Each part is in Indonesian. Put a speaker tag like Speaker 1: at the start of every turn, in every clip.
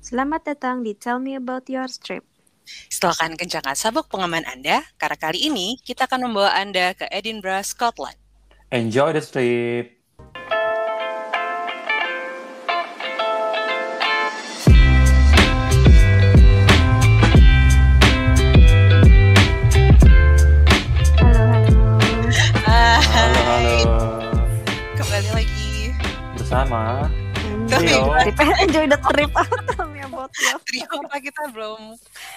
Speaker 1: Selamat datang di Tell Me About Your Trip.
Speaker 2: Silahkan kencangkan sabuk pengaman Anda, karena kali ini kita akan membawa Anda ke Edinburgh, Scotland.
Speaker 3: Enjoy the trip.
Speaker 1: Halo, halo.
Speaker 3: Halo, halo.
Speaker 2: Ah, Kembali lagi
Speaker 3: Bersama.
Speaker 1: Enjoy
Speaker 3: Halo.
Speaker 1: the trip. Enjoy the trip. Tell me about your
Speaker 2: trio apa kita belum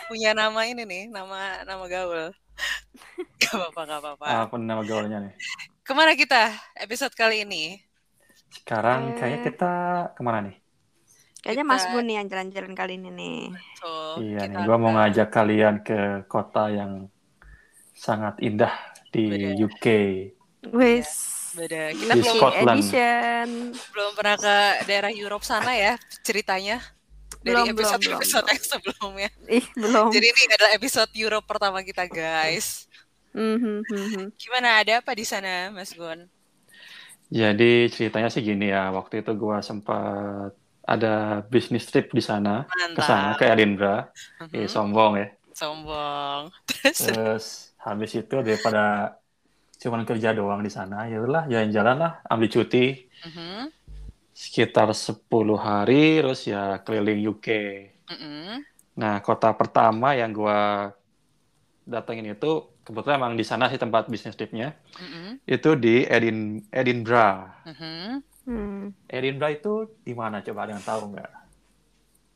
Speaker 2: punya nama ini nih, nama nama gaul. Gak apa-apa, gak apa-apa.
Speaker 3: Apa nama gaulnya nih?
Speaker 2: Kemana kita episode kali ini?
Speaker 3: Sekarang
Speaker 1: Eh.
Speaker 3: kayaknya kita kemana nih?
Speaker 1: Kayaknya
Speaker 2: Kita-
Speaker 1: Mas Gun nih yang jalan-jalan kali ini nih.
Speaker 2: Tuh,
Speaker 3: iya
Speaker 2: Oh, kita
Speaker 3: nih, gue mau
Speaker 2: akan-
Speaker 3: ngajak kalian ke kota yang sangat indah di
Speaker 2: Bener.
Speaker 3: UK.
Speaker 1: Wis.
Speaker 2: Beda. Kita
Speaker 3: Di
Speaker 1: UK
Speaker 2: belum,
Speaker 3: Scotland.
Speaker 1: Edition.
Speaker 2: belum pernah ke daerah Europe sana ya ceritanya dari
Speaker 1: Belum, belum,
Speaker 2: episode
Speaker 1: belum,
Speaker 2: episode
Speaker 1: belum.
Speaker 2: yang sebelumnya.
Speaker 1: Ih, belum.
Speaker 2: Jadi ini adalah episode Europe pertama kita, guys.
Speaker 1: Mhm, mhm.
Speaker 2: Gimana ada apa di sana, Mas Gun?
Speaker 3: Jadi ceritanya sih gini ya, waktu itu gue sempat ada bisnis trip di sana, ke sana,
Speaker 2: Mantap.
Speaker 3: ke Edinburgh.
Speaker 2: Mhm.
Speaker 3: Eh, sombong ya.
Speaker 2: Sombong. Terus
Speaker 3: Terus habis itu daripada cuman kerja doang di sana, ya udahlah jalan-jalan lah, ambil cuti
Speaker 2: mhm,
Speaker 3: sekitar 10 hari terus ya keliling UK.
Speaker 2: mhm.
Speaker 3: Nah, kota pertama yang gua datengin itu kebetulan emang di sana sih tempat bisnis tripnya
Speaker 2: Mhm,
Speaker 3: itu di Edin Edinburgh.
Speaker 2: mhm.
Speaker 1: Hmm.
Speaker 3: Edinburgh itu di mana coba ada yang tahu nggak?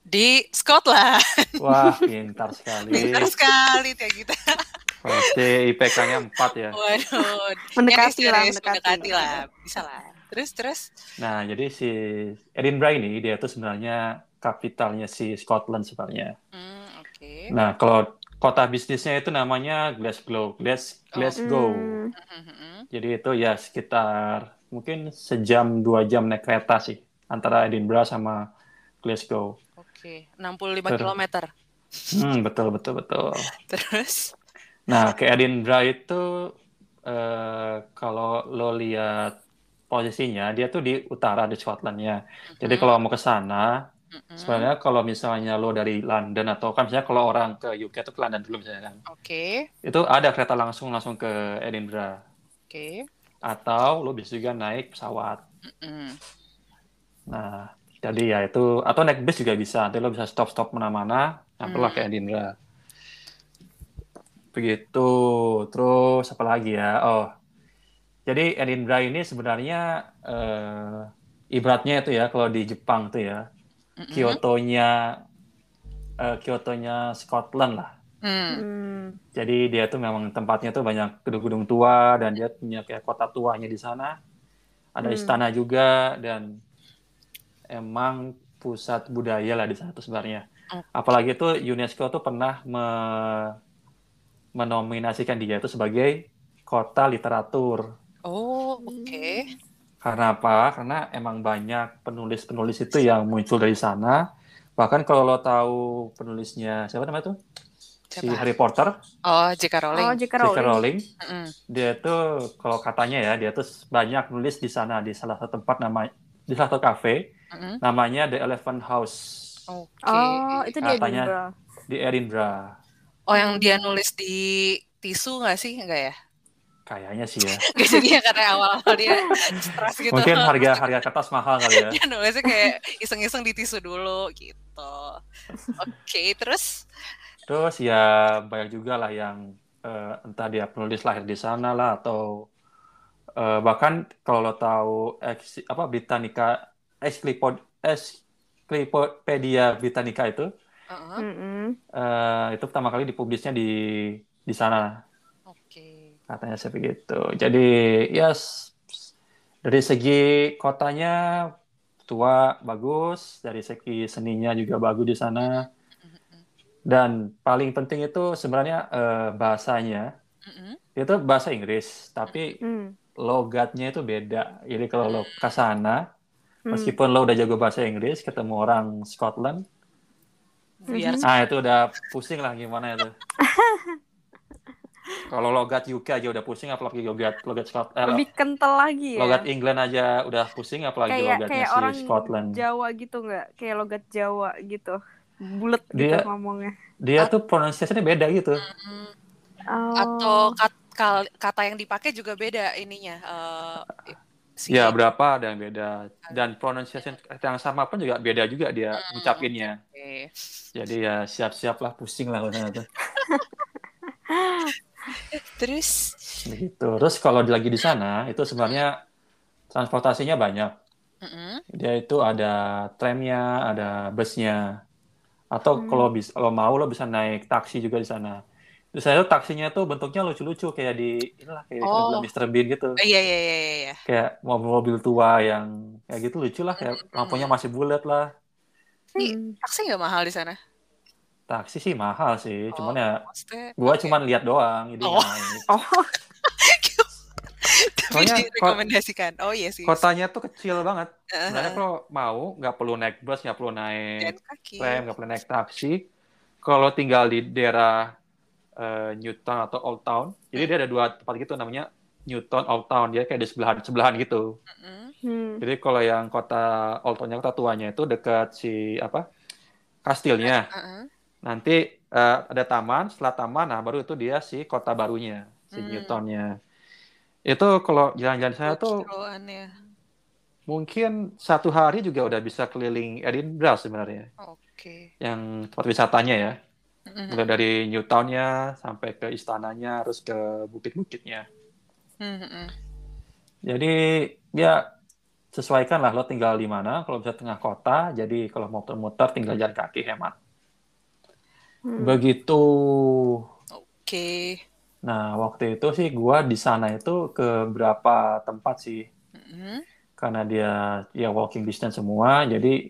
Speaker 2: Di Scotland.
Speaker 3: Wah, pintar sekali.
Speaker 2: Pintar sekali ya kita.
Speaker 3: Pasti IPK-nya 4 ya.
Speaker 2: Waduh.
Speaker 1: Mendekati
Speaker 2: Ya,
Speaker 1: lah,
Speaker 2: serius,
Speaker 1: mendekati.
Speaker 2: lah. Bisa lah. Terus terus.
Speaker 3: Nah, jadi si Edinburgh ini dia itu sebenarnya kapitalnya si Scotland sebenarnya.
Speaker 2: Hmm, oke.
Speaker 3: Nah, kalau kota bisnisnya itu namanya Glasgow, Glas Glasgow.
Speaker 1: Hmm.
Speaker 2: Mhm.
Speaker 3: Jadi itu ya sekitar mungkin sejam dua jam naik kereta sih antara Edinburgh sama Glasgow.
Speaker 2: Oke, 65
Speaker 3: Ter-
Speaker 2: km.
Speaker 3: Hmm, betul betul betul.
Speaker 2: Terus
Speaker 3: Nah, ke Edinburgh itu eh, kalau lo lihat posisinya dia tuh di utara di Scotlandnya. Jadi
Speaker 2: Mhm,
Speaker 3: kalau mau ke sana,
Speaker 2: mhm.
Speaker 3: sebenarnya kalau misalnya lo dari London atau kan misalnya kalau orang ke UK tuh ke London dulu misalnya kan.
Speaker 2: Oke,
Speaker 3: Itu ada kereta langsung langsung ke Edinburgh.
Speaker 2: oke.
Speaker 3: atau lo bisa juga naik pesawat.
Speaker 2: Mm.
Speaker 3: Nah, jadi ya itu atau naik bus juga bisa. Nanti lo bisa stop-stop mana-mana, sampailah
Speaker 2: Hmm.
Speaker 3: ke Edinburgh. Begitu. Terus apa lagi ya? Oh. Jadi Edinburgh ini sebenarnya eh, ibaratnya itu ya kalau di Jepang tuh ya,
Speaker 2: Mm-mm.
Speaker 3: Kyoto-nya eh, Kyoto-nya Scotland lah.
Speaker 2: Mm.
Speaker 1: Hmm.
Speaker 3: Jadi dia tuh memang tempatnya tuh banyak gedung-gedung tua dan dia punya kayak kota tuanya di sana. Ada
Speaker 1: Hmm.
Speaker 3: istana juga dan emang pusat budaya lah di sana tuh sebenarnya.
Speaker 2: Oke.
Speaker 3: Apalagi tuh UNESCO tuh pernah me- menominasikan dia itu sebagai kota literatur.
Speaker 2: Oh, oke.
Speaker 3: Karena apa? Karena emang banyak penulis-penulis itu yang muncul dari sana. Bahkan kalau lo tahu penulisnya siapa namanya tuh? Si
Speaker 2: Siapa?
Speaker 3: Harry Potter,
Speaker 2: Oh, J.K.
Speaker 1: Oh,
Speaker 2: Rowling.
Speaker 1: J.K.
Speaker 3: J.K.
Speaker 1: Rowling.
Speaker 3: Rowling.
Speaker 2: Mm-mm.
Speaker 3: dia tuh kalau katanya ya dia tuh banyak nulis di sana di salah satu tempat nama di salah satu kafe
Speaker 2: Mm-mm.
Speaker 3: namanya The Elephant House
Speaker 2: Oke.
Speaker 1: Oh, itu dia
Speaker 3: Katanya.
Speaker 1: Edinburgh.
Speaker 3: di Edinburgh
Speaker 2: Oh, yang dia nulis di tisu nggak sih? Enggak ya?
Speaker 3: kayaknya sih ya
Speaker 2: Nggak jadi ya karena awal-awal dia stres gitu.
Speaker 3: mungkin harga harga kertas mahal kali ya
Speaker 2: Dia nulisnya kayak iseng-iseng di tisu dulu gitu. Oke, terus
Speaker 3: terus ya banyak juga lah yang eh, entah dia penulis lahir di sana lah atau eh, bahkan kalau lo tahu ex- apa Britannica Encyclopo- Encyclopedia Britannica itu
Speaker 2: Uh-uh.
Speaker 1: Mm-mm.
Speaker 3: eh, itu pertama kali dipublisnya di di sana
Speaker 2: oke.
Speaker 3: katanya seperti itu. Jadi ya s- dari segi kotanya tua bagus, dari segi seninya juga bagus di sana. Dan paling penting itu sebenarnya eh, bahasanya
Speaker 2: Mm-mm.
Speaker 3: itu bahasa Inggris, tapi
Speaker 1: Hmm.
Speaker 3: logatnya itu beda. Jadi kalau lo ke sana,
Speaker 1: Hmm.
Speaker 3: meskipun lo udah jago bahasa Inggris, ketemu orang Scotland,
Speaker 2: Biar
Speaker 3: ah itu udah pusing lah gimana itu. kalau logat UK aja udah pusing, apalagi logat logat eh, Scotland.
Speaker 1: Lebih kental lagi ya.
Speaker 3: logat England aja udah pusing apalagi
Speaker 1: kayak
Speaker 3: gitu, logatnya
Speaker 1: kayak
Speaker 3: si
Speaker 1: orang
Speaker 3: Scotland.
Speaker 1: Jawa gitu nggak kayak logat Jawa gitu bulat gitu
Speaker 3: Dia-
Speaker 1: ngomongnya.
Speaker 3: Dia tuh pronunciation-nya beda gitu.
Speaker 2: Mm,
Speaker 1: Oh.
Speaker 2: Atau kat- kal- kata yang dipakai juga beda ininya. eh, si-
Speaker 1: Iya.
Speaker 3: Ya berapa ada yang beda dan pronunciation yang sama pun juga beda juga dia
Speaker 2: Hmm.
Speaker 3: ngucapinnya.
Speaker 2: Oke.
Speaker 3: Jadi ya siap-siaplah pusing lah kalau sana tuh.
Speaker 2: Terus
Speaker 3: begitu. Gitu. Terus kalau lagi di sana itu sebenarnya transportasinya banyak.
Speaker 2: mm-mm.
Speaker 3: Dia itu ada tramnya, ada busnya. Atau
Speaker 1: Hmm.
Speaker 3: kalau bis- kalau mau lo bisa naik taksi juga di sana. Terus saya tuh taksinya tuh bentuknya lucu-lucu kayak di inilah kayak di
Speaker 2: Oh.
Speaker 3: film Mr. Bean gitu.
Speaker 2: Oh, iya iya iya iya, iya.
Speaker 3: Kayak mobil-mobil tua yang kayak gitu lucu lah kayak lampunya masih bulat lah.
Speaker 1: Hmm.
Speaker 2: Taksi nggak mahal di sana?
Speaker 3: Taksi sih mahal sih,
Speaker 2: Oh.
Speaker 3: cuman ya
Speaker 2: Maksudnya
Speaker 3: gua
Speaker 2: oke.
Speaker 3: cuman lihat doang jadi
Speaker 2: Oh.
Speaker 3: naik.
Speaker 1: Oh,
Speaker 2: Tapi
Speaker 3: Soalnya
Speaker 2: direkomendasikan. Oh iya sih.
Speaker 3: Kotanya tuh kecil banget.
Speaker 2: Heeh.
Speaker 3: Sebenarnya kalau mau nggak perlu naik bus, nggak perlu
Speaker 2: Jalan
Speaker 3: naik
Speaker 2: kaki.
Speaker 3: tram, nggak perlu naik taksi. Kalau tinggal di daerah eh, Newton atau Old Town, jadi dia ada dua tempat gitu namanya Newton Old Town. Dia kayak di sebelahan sebelahan gitu.
Speaker 2: Mm-mm.
Speaker 1: hmm.
Speaker 3: Jadi kalau yang kota Old Townnya kota tuanya itu dekat si apa kastilnya.
Speaker 2: Heeh.
Speaker 3: Nanti eh, ada taman, setelah taman, nah baru itu dia si kota barunya, si
Speaker 2: Hmm.
Speaker 3: Newtonnya. Itu kalau jalan-jalan saya Nah, tuh
Speaker 2: Kiloan ya.
Speaker 3: mungkin satu hari juga udah bisa keliling Edinburgh sebenarnya.
Speaker 2: Oke.
Speaker 3: yang tempat wisatanya ya.
Speaker 2: Mm-mm.
Speaker 3: Mulai dari New Town-nya sampai ke istananya, harus ke bukit-bukitnya.
Speaker 2: Mm-mm.
Speaker 3: Jadi ya sesuaikan lah lo tinggal di mana. Kalau bisa tengah kota, jadi kalau mau muter-muter tinggal jalan kaki hemat.
Speaker 1: Hmm.
Speaker 3: Begitu.
Speaker 2: Oke.
Speaker 3: Nah waktu itu sih gua di sana itu ke berapa tempat sih?
Speaker 2: Mm-mm.
Speaker 3: Karena dia ya walking distance semua, jadi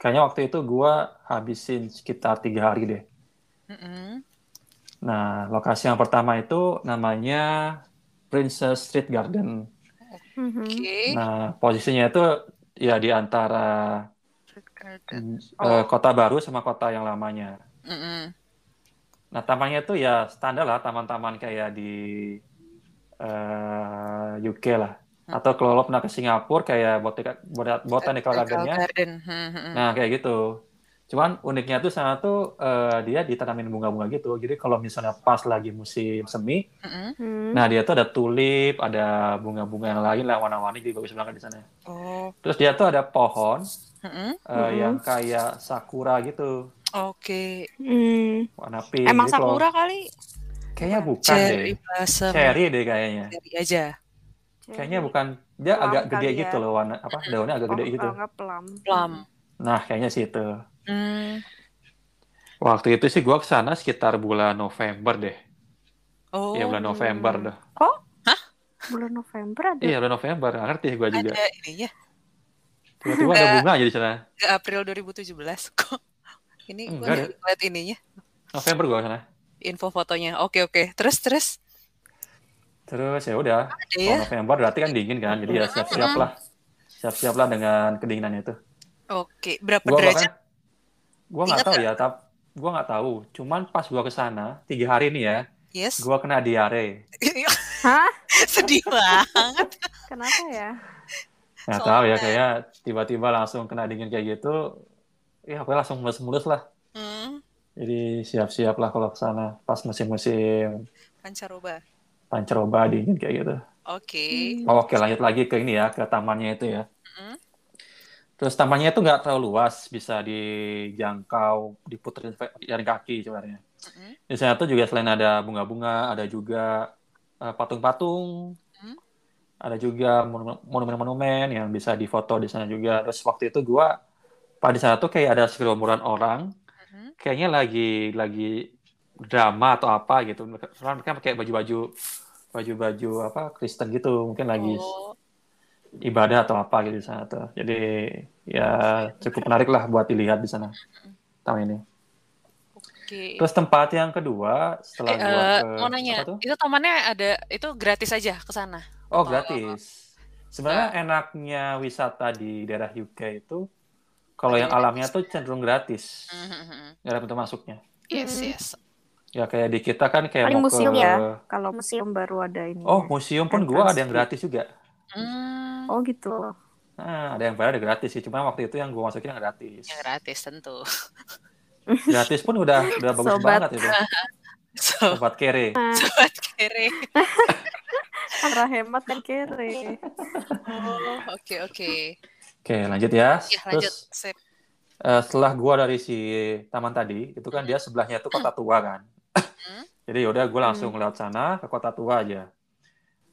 Speaker 3: kayaknya waktu itu gua habisin sekitar tiga hari deh.
Speaker 2: Mm-mm.
Speaker 3: Nah, lokasi yang pertama itu namanya Princess Street Garden.
Speaker 1: Mhm.
Speaker 2: Oke.
Speaker 3: Nah, posisinya itu ya di antara
Speaker 2: Kindergarten.
Speaker 3: eh,
Speaker 1: Oh.
Speaker 3: kota baru sama kota yang lamanya.
Speaker 2: Mm-mm.
Speaker 3: Nah, tamannya itu ya standar lah, taman-taman kayak di eh, UK lah.
Speaker 1: Hmm.
Speaker 3: Atau kalau lo pernah ke Singapura kayak botika- bota- botanical gardennya,
Speaker 2: Garden. Mm-hmm,
Speaker 1: Hmm.
Speaker 2: Mm-mm.
Speaker 3: nah kayak gitu. Cuman uniknya tuh sana tuh eh, dia ditanamin bunga-bunga gitu. Jadi kalau misalnya pas lagi musim semi,
Speaker 2: Mm-mm.
Speaker 1: Hmm.
Speaker 3: Nah, dia tuh ada tulip, ada bunga-bunga yang lain lah warna-warni jadi bagus banget di sana.
Speaker 2: Oh.
Speaker 3: Terus dia tuh ada pohon
Speaker 2: Mm-mm.
Speaker 3: eh,
Speaker 1: Mhm.
Speaker 3: yang kayak sakura gitu,
Speaker 2: Oke.
Speaker 1: Hmm.
Speaker 3: warna pink.
Speaker 1: Emang
Speaker 3: Jadi kalau-
Speaker 1: sakura kali?
Speaker 3: Kayaknya bukan
Speaker 2: Cherry
Speaker 3: deh.
Speaker 2: blossom.
Speaker 3: Cherry deh kayaknya.
Speaker 2: Cherry aja.
Speaker 3: Kayaknya bukan. Dia
Speaker 1: Plum
Speaker 3: agak gede
Speaker 1: kali ya.
Speaker 3: gitu loh warna apa daunnya agak gede
Speaker 1: Oh,
Speaker 3: gitu.
Speaker 1: kalau nggak plum.
Speaker 2: Plum. Mm-hmm.
Speaker 3: Nah, kayaknya sih itu.
Speaker 2: Mm.
Speaker 3: Waktu itu sih gua ke sana sekitar bulan November deh.
Speaker 2: Oh.
Speaker 3: Iya, bulan November
Speaker 1: Hmm.
Speaker 3: dah.
Speaker 1: Bulan November ada.
Speaker 3: Iya, bulan November. Nggak ngerti gua juga.
Speaker 2: Ada ini ya.
Speaker 3: Tiba-tiba ada
Speaker 2: Nggak.
Speaker 3: bunga aja di sana.
Speaker 2: Ke April 2017 kok. Ini gue
Speaker 3: Enggak ada.
Speaker 2: lihat ininya.
Speaker 3: November gua ke sana.
Speaker 2: Info fotonya. Oke oke. Terus terus.
Speaker 3: Terus ya udah,
Speaker 2: Ada ya.
Speaker 3: Kalau November berarti kan dingin kan, jadi ya siap-siap lah. Siap-siap lah dengan kedinginan itu.
Speaker 2: Oke. Berapa
Speaker 3: Gua
Speaker 2: derajat?
Speaker 3: bahkan, gua nggak
Speaker 2: Ingat
Speaker 3: tahu ya, tapi gua nggak tahu. Cuman pas gua ke sana tiga hari ini ya,
Speaker 2: Yes.
Speaker 3: gua kena diare.
Speaker 1: Hah?
Speaker 2: Sedih banget.
Speaker 1: Kenapa ya?
Speaker 3: Nggak
Speaker 2: Soalnya-
Speaker 3: tahu ya, kayaknya tiba-tiba langsung kena dingin kayak gitu. Ya, gue langsung mulus-mulus lah.
Speaker 2: Hmm.
Speaker 3: Jadi siap-siap lah kalau ke sana pas musim-musim
Speaker 2: Pancaroba.
Speaker 3: pancaroba dingin kayak gitu. Oh,
Speaker 2: Oke.
Speaker 1: Hmm.
Speaker 3: Oke, lanjut lagi ke ini ya, ke tamannya itu ya.
Speaker 2: Mm.
Speaker 3: Terus tamannya itu nggak terlalu luas, bisa dijangkau, diputerin pe- jalan kaki sebenarnya.
Speaker 2: Mm-mm.
Speaker 3: Di sana tuh juga selain ada bunga-bunga, ada juga eh, patung-patung,
Speaker 2: Mm.
Speaker 3: ada juga monu- monumen-monumen yang bisa difoto di sana juga. Terus waktu itu gua pada sana tuh kayak ada segerombolan orang,
Speaker 2: Mm-mm.
Speaker 3: kayaknya lagi lagi drama atau apa gitu. Mereka- Soalnya mereka pakai baju-baju baju-baju apa Kristen gitu, mungkin lagi
Speaker 2: Oh.
Speaker 3: ibadah atau apa gitu di sana tuh. Jadi ya cukup menarik lah buat dilihat di sana
Speaker 2: Mm-hmm.
Speaker 3: tahun ini.
Speaker 2: Oke.
Speaker 3: Terus tempat yang kedua setelah
Speaker 2: Eh,
Speaker 3: gua
Speaker 2: eh,
Speaker 3: ke
Speaker 2: mau
Speaker 3: apa
Speaker 2: nanya,
Speaker 3: tuh?
Speaker 2: itu tamannya ada itu gratis aja ke sana.
Speaker 3: Oh gratis. Sebenarnya enaknya wisata di daerah UK itu kalau yang
Speaker 2: Ada
Speaker 3: alamnya tuh cenderung gratis, nggak ada pintu masuknya.
Speaker 2: Mm-hmm. Yes,
Speaker 1: Mm-mm.
Speaker 2: yes.
Speaker 3: Ya kayak di kita kan kayak
Speaker 1: Paling
Speaker 3: mau
Speaker 1: museum
Speaker 3: ke
Speaker 1: ya. Kalau museum baru ada ini.
Speaker 3: Oh museum pun gua ada yang gratis juga.
Speaker 2: Hmm,
Speaker 1: Oh gitu.
Speaker 3: Nah, ada yang bayar ada gratis sih, cuma waktu itu yang gua masukin yang gratis.
Speaker 2: yang gratis ya tentu.
Speaker 3: Gratis pun udah udah bagus
Speaker 1: Sobat.
Speaker 3: banget itu.
Speaker 2: So,
Speaker 3: Sobat kere.
Speaker 2: sobat kere.
Speaker 1: Karena hemat kan kere.
Speaker 2: Oh, oke oke.
Speaker 3: Oke, lanjut ya.
Speaker 2: Ya lanjut.
Speaker 3: Terus
Speaker 2: Sip.
Speaker 3: eh, setelah gua dari si taman tadi, itu kan dia sebelahnya tuh kota tua kan. Jadi yaudah gue langsung lewat sana ke kota tua aja.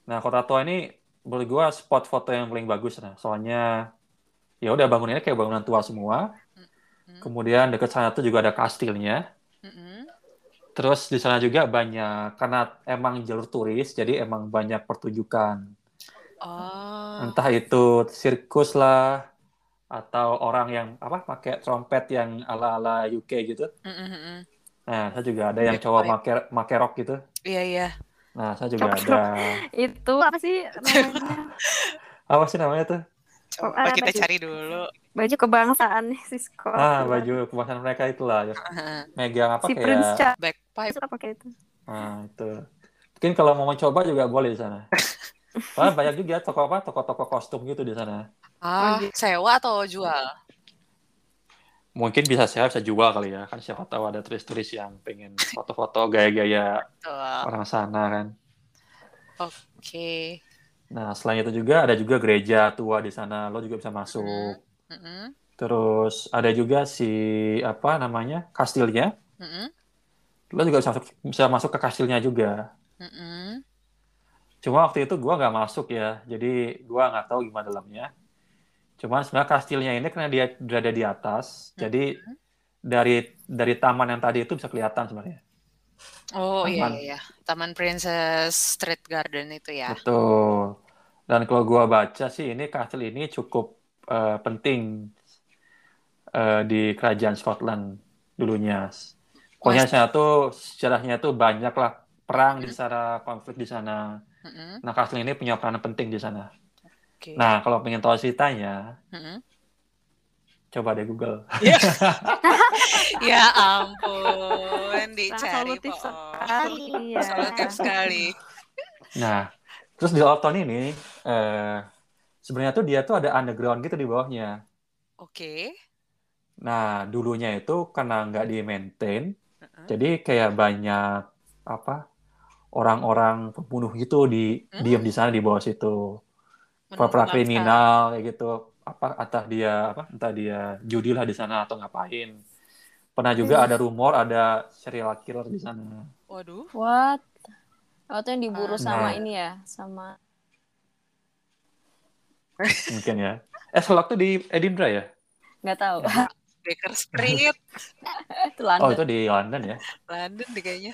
Speaker 3: Nah kota tua ini menurut gue spot foto yang paling bagus nah. Soalnya ya udah bangunannya kayak bangunan tua semua.
Speaker 2: Mhm.
Speaker 3: Kemudian dekat sana tuh juga ada kastilnya.
Speaker 2: Mm-mm.
Speaker 3: Terus di sana juga banyak karena emang jalur turis, jadi emang banyak pertunjukan.
Speaker 2: Oh.
Speaker 3: Entah itu sirkus lah atau orang yang apa pakai trompet yang ala-ala UK gitu.
Speaker 2: Mm-mm-mm.
Speaker 3: Nah, saya juga ada yang cowok make make rok gitu.
Speaker 2: Iya iya.
Speaker 3: Nah, saya juga
Speaker 1: Cowok
Speaker 3: ada
Speaker 1: Itu apa sih namanya?
Speaker 3: apa sih namanya tuh?
Speaker 2: Coba
Speaker 1: eh,
Speaker 2: kita
Speaker 1: baju.
Speaker 2: cari dulu.
Speaker 1: Baju kebangsaan si sekolah.
Speaker 3: Ah, baju kebangsaan mereka itulah. ya.
Speaker 2: Aha.
Speaker 3: Megang apa
Speaker 1: Si
Speaker 3: kayak
Speaker 1: Prince Charles
Speaker 2: Backpipe.
Speaker 1: suka pakai itu.
Speaker 3: Ah, itu. Mungkin kalau mau mencoba juga boleh di sana. Soalnya banyak juga toko apa toko-toko kostum gitu di sana.
Speaker 2: Ah, sewa atau jual?
Speaker 3: Mungkin bisa saya bisa jual kali ya. Kan siapa tahu ada turis-turis yang pengen foto-foto gaya-gaya
Speaker 2: Betul.
Speaker 3: orang sana kan. Oh.
Speaker 2: Oke.
Speaker 3: Nah, selain itu juga ada juga gereja tua di sana. Lo juga bisa
Speaker 1: Hmm.
Speaker 3: masuk.
Speaker 2: Mm-mm.
Speaker 3: Terus ada juga si apa namanya? kastilnya.
Speaker 2: Mm-mm.
Speaker 3: Lo juga bisa masuk, bisa masuk ke kastilnya juga.
Speaker 2: Mm-mm.
Speaker 3: Cuma waktu itu gua nggak masuk ya, jadi gua nggak tahu gimana dalamnya. Cuman sebenarnya kastilnya ini karena dia berada di atas, jadi dari dari taman yang tadi itu bisa kelihatan sebenarnya.
Speaker 2: Oh iya
Speaker 3: Taman.
Speaker 2: iya iya. Taman Princess Street Garden itu ya.
Speaker 3: Betul. Dan kalau gua baca sih ini kastil ini cukup eh, penting eh, di kerajaan Scotland dulunya. Pokoknya saya tuh sejarahnya tuh banyak lah perang di sana, konflik di sana.
Speaker 2: Mm-mm.
Speaker 3: Nah kastil ini punya peranan penting di sana.
Speaker 2: Oke.
Speaker 3: Nah kalau pengen tahu ceritanya,
Speaker 2: Mm-mm.
Speaker 3: coba deh Google.
Speaker 2: Ya ampun, dicari
Speaker 1: solutif
Speaker 2: po.
Speaker 1: sekali, ya.
Speaker 2: Solutif sekali.
Speaker 3: Nah, terus di Old Town ini eh, sebenarnya tuh dia tuh ada underground gitu di bawahnya.
Speaker 2: Oke.
Speaker 3: Nah, dulunya itu karena nggak di maintain,
Speaker 2: Mm-mm.
Speaker 3: jadi kayak banyak apa orang-orang pembunuh gitu di
Speaker 2: Hmm?
Speaker 3: diem di sana di bawah situ,
Speaker 2: Menunggu
Speaker 3: para
Speaker 2: bangsa.
Speaker 3: kriminal kayak gitu. Apa entah dia apa entah dia judi lah di sana atau ngapain. Pernah juga ada rumor ada serial killer di sana.
Speaker 2: Waduh.
Speaker 4: What? Oh, itu yang diburu
Speaker 2: Ah.
Speaker 4: sama
Speaker 3: Nah.
Speaker 4: ini ya, sama
Speaker 3: Mungkin ya. Eh, Sherlock tuh di Edinburgh ya?
Speaker 4: nggak tahu.
Speaker 2: Baker Street,
Speaker 4: itu London.
Speaker 3: Iya. Oh, itu di London ya.
Speaker 2: London deh kayaknya.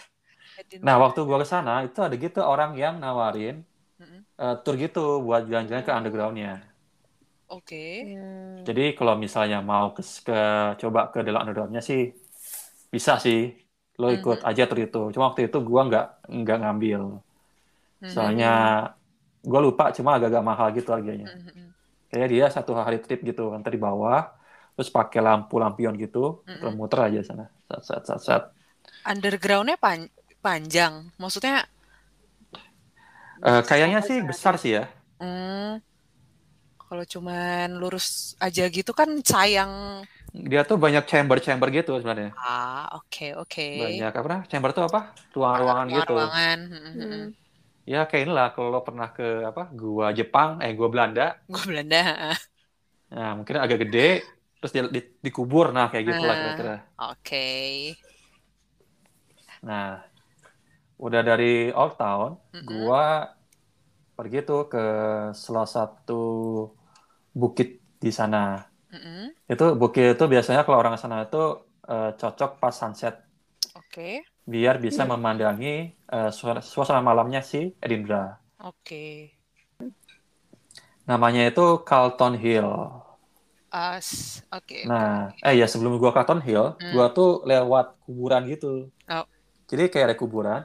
Speaker 3: Nah, waktu gua ke sana itu ada gitu orang yang nawarin
Speaker 2: Mm-mm.
Speaker 3: eh, tour gitu buat jalan-jalan ke undergroundnya.
Speaker 2: Oke.
Speaker 4: Hmm.
Speaker 3: Jadi kalau misalnya mau ke, ke- coba ke dalam undergroundnya sih bisa sih lo ikut aja tour itu. Cuma waktu itu gua nggak nggak ngambil,
Speaker 2: Mhm.
Speaker 3: soalnya gua lupa cuma agak-agak mahal gitu harganya.
Speaker 2: Mhm.
Speaker 3: Kayaknya dia satu hari trip gitu kan di bawah, terus pakai lampu lampion gitu,
Speaker 2: Mm-mm.
Speaker 3: muter-muter aja sana. Sat sat sat sat.
Speaker 2: Undergroundnya pan- panjang. Maksudnya
Speaker 3: Eh, kayaknya sih besar sih ya.
Speaker 2: Hmm, kalau cuman lurus aja gitu kan sayang.
Speaker 3: Dia tuh banyak chamber-chamber gitu sebenarnya.
Speaker 2: Ah, oke, oke.
Speaker 3: banyak apa nah, chamber tuh apa ruangan-ruangan gitu
Speaker 2: Ruangan. Hmm, hmm, hmm.
Speaker 3: ya kayak inilah kalau lo pernah ke apa gua Jepang eh gua Belanda
Speaker 2: Gua Belanda. ah.
Speaker 3: nah mungkin agak gede terus di, di- dikubur nah kayak gitu lah
Speaker 2: Ah.
Speaker 3: kira-kira
Speaker 2: Oke.
Speaker 3: nah udah dari Old Town
Speaker 2: Mm-mm.
Speaker 3: gua pergi tuh ke salah satu bukit di sana
Speaker 2: Mm-mm.
Speaker 3: itu bukit itu biasanya kalau orang sana itu eh, cocok pas sunset
Speaker 2: Oke.
Speaker 3: biar bisa
Speaker 2: Mm.
Speaker 3: memandangi eh, suara- suasana malamnya si Edinburgh
Speaker 2: Oke.
Speaker 3: namanya itu Carlton Hill.
Speaker 2: As. Oke.
Speaker 3: Nah, eh ya sebelum gua ke Carlton Hill,
Speaker 2: Hmm.
Speaker 3: gua tuh lewat kuburan gitu.
Speaker 2: Oh.
Speaker 3: Jadi kayak ada kuburan.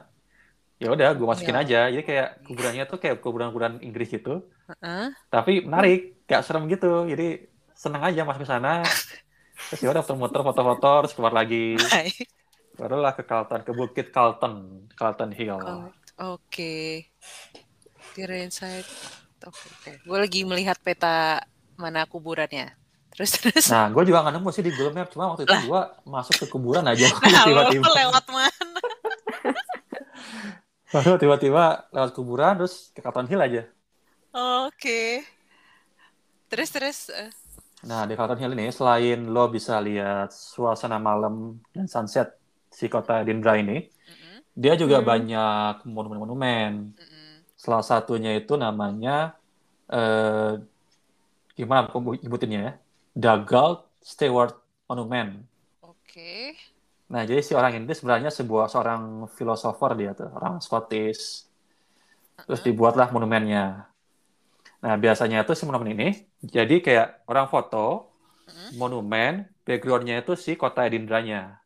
Speaker 3: Ya udah, gua masukin
Speaker 2: Iya.
Speaker 3: aja. Jadi kayak kuburannya tuh kayak kuburan-kuburan Inggris gitu.
Speaker 2: Heeh.
Speaker 3: Tapi menarik, gak serem gitu. Jadi seneng aja masuk ke sana. Terus ya udah muter-muter foto-foto, terus keluar lagi.
Speaker 2: Baik.
Speaker 3: Barulah ke Carlton, ke Bukit Carlton, Carlton Hill.
Speaker 2: Oke. Kirain saya. Oke, oke. Gue lagi melihat peta mana kuburannya. Terus terus.
Speaker 3: Nah, gue juga nggak nemu sih di Google Maps, cuma waktu itu gue masuk ke kuburan aja
Speaker 2: Nah, lu
Speaker 3: tiba-tiba.
Speaker 2: lewat mana?
Speaker 3: Baru tiba-tiba lewat kuburan, terus ke Cotton Hill aja.
Speaker 2: Oke. Terus terus eh,
Speaker 3: Nah, di Cotton Hill ini selain lo bisa lihat suasana malam dan sunset si kota Edinburgh ini,
Speaker 2: mm-mm,
Speaker 3: dia juga
Speaker 4: Hmm.
Speaker 3: banyak monumen-monumen.
Speaker 2: mm-mm.
Speaker 3: Salah satunya itu namanya eh gimana aku nyebutinnya ya? Dagald Stewart Monument.
Speaker 2: Oke.
Speaker 3: Nah, jadi si orang ini sebenarnya sebuah seorang filosofer dia tuh, orang Scottish. Terus dibuatlah monumennya. Nah, biasanya itu si monumen ini, jadi kayak orang foto,
Speaker 2: Hmm.
Speaker 3: monumen, backgroundnya itu si kota Edinburgh-nya.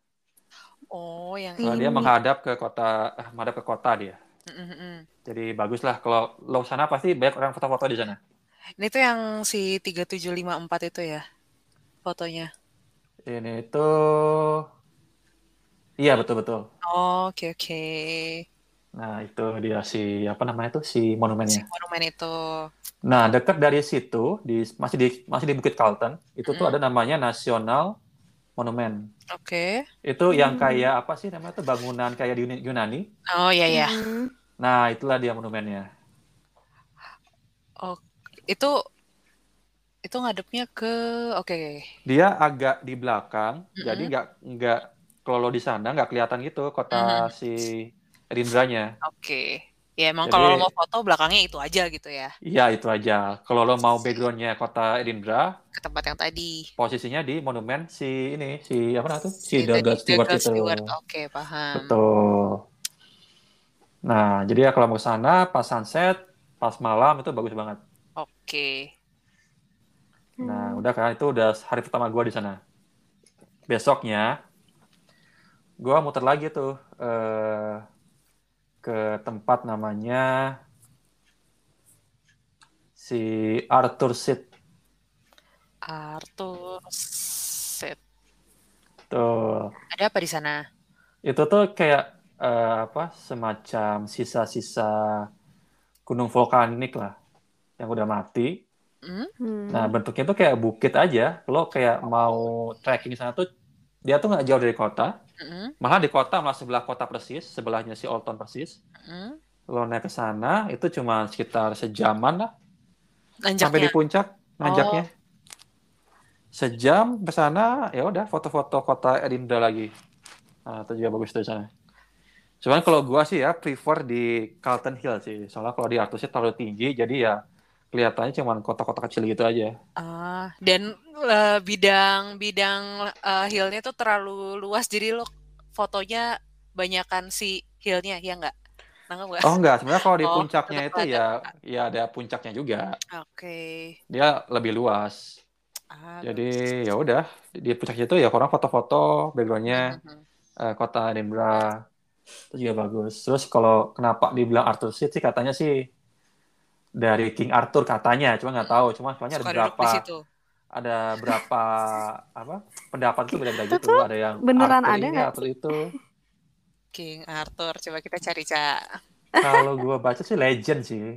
Speaker 2: Oh, yang
Speaker 3: Kalau dia menghadap ke kota, eh, menghadap ke kota dia.
Speaker 2: Mm, mm, mm.
Speaker 3: Jadi baguslah kalau lo sana pasti banyak orang foto-foto di sana.
Speaker 2: Ini tuh yang si 3754 itu ya fotonya.
Speaker 3: Ini itu, iya betul-betul.
Speaker 2: Oh, Oke, oke.
Speaker 3: Nah, itu dia si, apa namanya itu, si
Speaker 2: Si
Speaker 3: monumennya.
Speaker 2: monumen itu.
Speaker 3: Nah, dekat dari situ, di, masih di masih di Bukit Carlton, itu tuh
Speaker 2: Mm-mm.
Speaker 3: ada namanya National Monument.
Speaker 2: Oke.
Speaker 3: Itu yang
Speaker 2: Mm.
Speaker 1: Hmm.
Speaker 3: kayak apa sih namanya tuh bangunan kayak di Yun- Yunani.
Speaker 2: Oh, ya ya.
Speaker 1: Hmm.
Speaker 3: Nah, itulah dia monumennya.
Speaker 2: Itu itu ngadepnya ke oke.
Speaker 3: Dia agak di belakang,
Speaker 2: Mm-mm.
Speaker 3: jadi nggak nggak kalau lo di sana nggak kelihatan gitu kota si Edinburgh-nya.
Speaker 2: Oke. Ya emang
Speaker 3: Jadi-
Speaker 2: kalau lo mau foto belakangnya itu aja gitu ya,
Speaker 3: Iya, itu aja. Kalau lo mau background-nya kota Edinburgh,
Speaker 2: ke tempat yang tadi.
Speaker 3: posisinya di monumen si ini, si apa namanya tuh? Si
Speaker 2: Itu
Speaker 3: Douglas
Speaker 2: di-
Speaker 3: Stewart
Speaker 2: Douglas
Speaker 3: itu.
Speaker 2: Stewart. Oke, paham.
Speaker 3: Betul. Nah, jadi ya kalau mau ke sana pas sunset, pas malam itu bagus banget.
Speaker 2: Oke.
Speaker 3: Nah, udah kan itu udah hari pertama gua di sana. Besoknya gua muter lagi tuh eh, ke tempat namanya si Arthur Seat
Speaker 2: Arthur set.
Speaker 3: tuh.
Speaker 2: Ada apa di sana?
Speaker 3: Itu tuh kayak eh, apa semacam sisa-sisa gunung vulkanik lah yang udah mati.
Speaker 2: Hmm?
Speaker 1: Hmm.
Speaker 3: Nah, bentuknya tuh kayak bukit aja. Lo kayak mau trekking di sana tuh, dia tuh nggak jauh dari kota.
Speaker 2: Mm-mm,
Speaker 3: Malah di kota, malah sebelah kota persis, sebelahnya si Old Town persis.
Speaker 2: mm-mm.
Speaker 3: Lo naik ke sana, itu cuma sekitar sejaman lah. Sampai
Speaker 2: Nanjaknya.
Speaker 3: di puncak, nanjaknya. Sejam ke sana, ya udah foto-foto kota Edinburgh lagi. Nah, itu juga bagus tuh di sana. Cuman kalau gua sih ya prefer di Carlton Hill sih. Soalnya kalau di atasnya terlalu tinggi, jadi ya kelihatannya cuman kota-kota kecil gitu aja.
Speaker 2: Ah, dan eh, bidang-bidang eh, hillnya tuh terlalu luas jadi lo fotonya banyakan si hillnya ya nggak? Nangkep nggak?
Speaker 3: Oh enggak, sebenarnya kalau di
Speaker 2: Oh,
Speaker 3: puncaknya
Speaker 2: tetap
Speaker 3: itu ya ya ada puncaknya juga.
Speaker 2: Oke.
Speaker 3: Dia lebih luas.
Speaker 2: Ah,
Speaker 3: Jadi ya udah di puncaknya itu ya orang foto-foto backgroundnya
Speaker 2: mhm.
Speaker 3: eh, kota Edinburgh itu juga bagus. Terus kalau kenapa dibilang Arthur Seat sih katanya sih dari King Arthur katanya, cuma nggak tahu. Cuma soalnya ada
Speaker 2: Suka duduk
Speaker 3: berapa
Speaker 2: di situ.
Speaker 3: ada berapa apa pendapat tuh beda-beda
Speaker 1: Itu
Speaker 3: gitu. Ada yang
Speaker 1: beneran
Speaker 3: Arthur
Speaker 1: ada
Speaker 3: ini,
Speaker 1: nggak
Speaker 3: Arthur itu.
Speaker 2: King Arthur, coba kita cari, Cak.
Speaker 3: Kalau gua baca sih legend sih.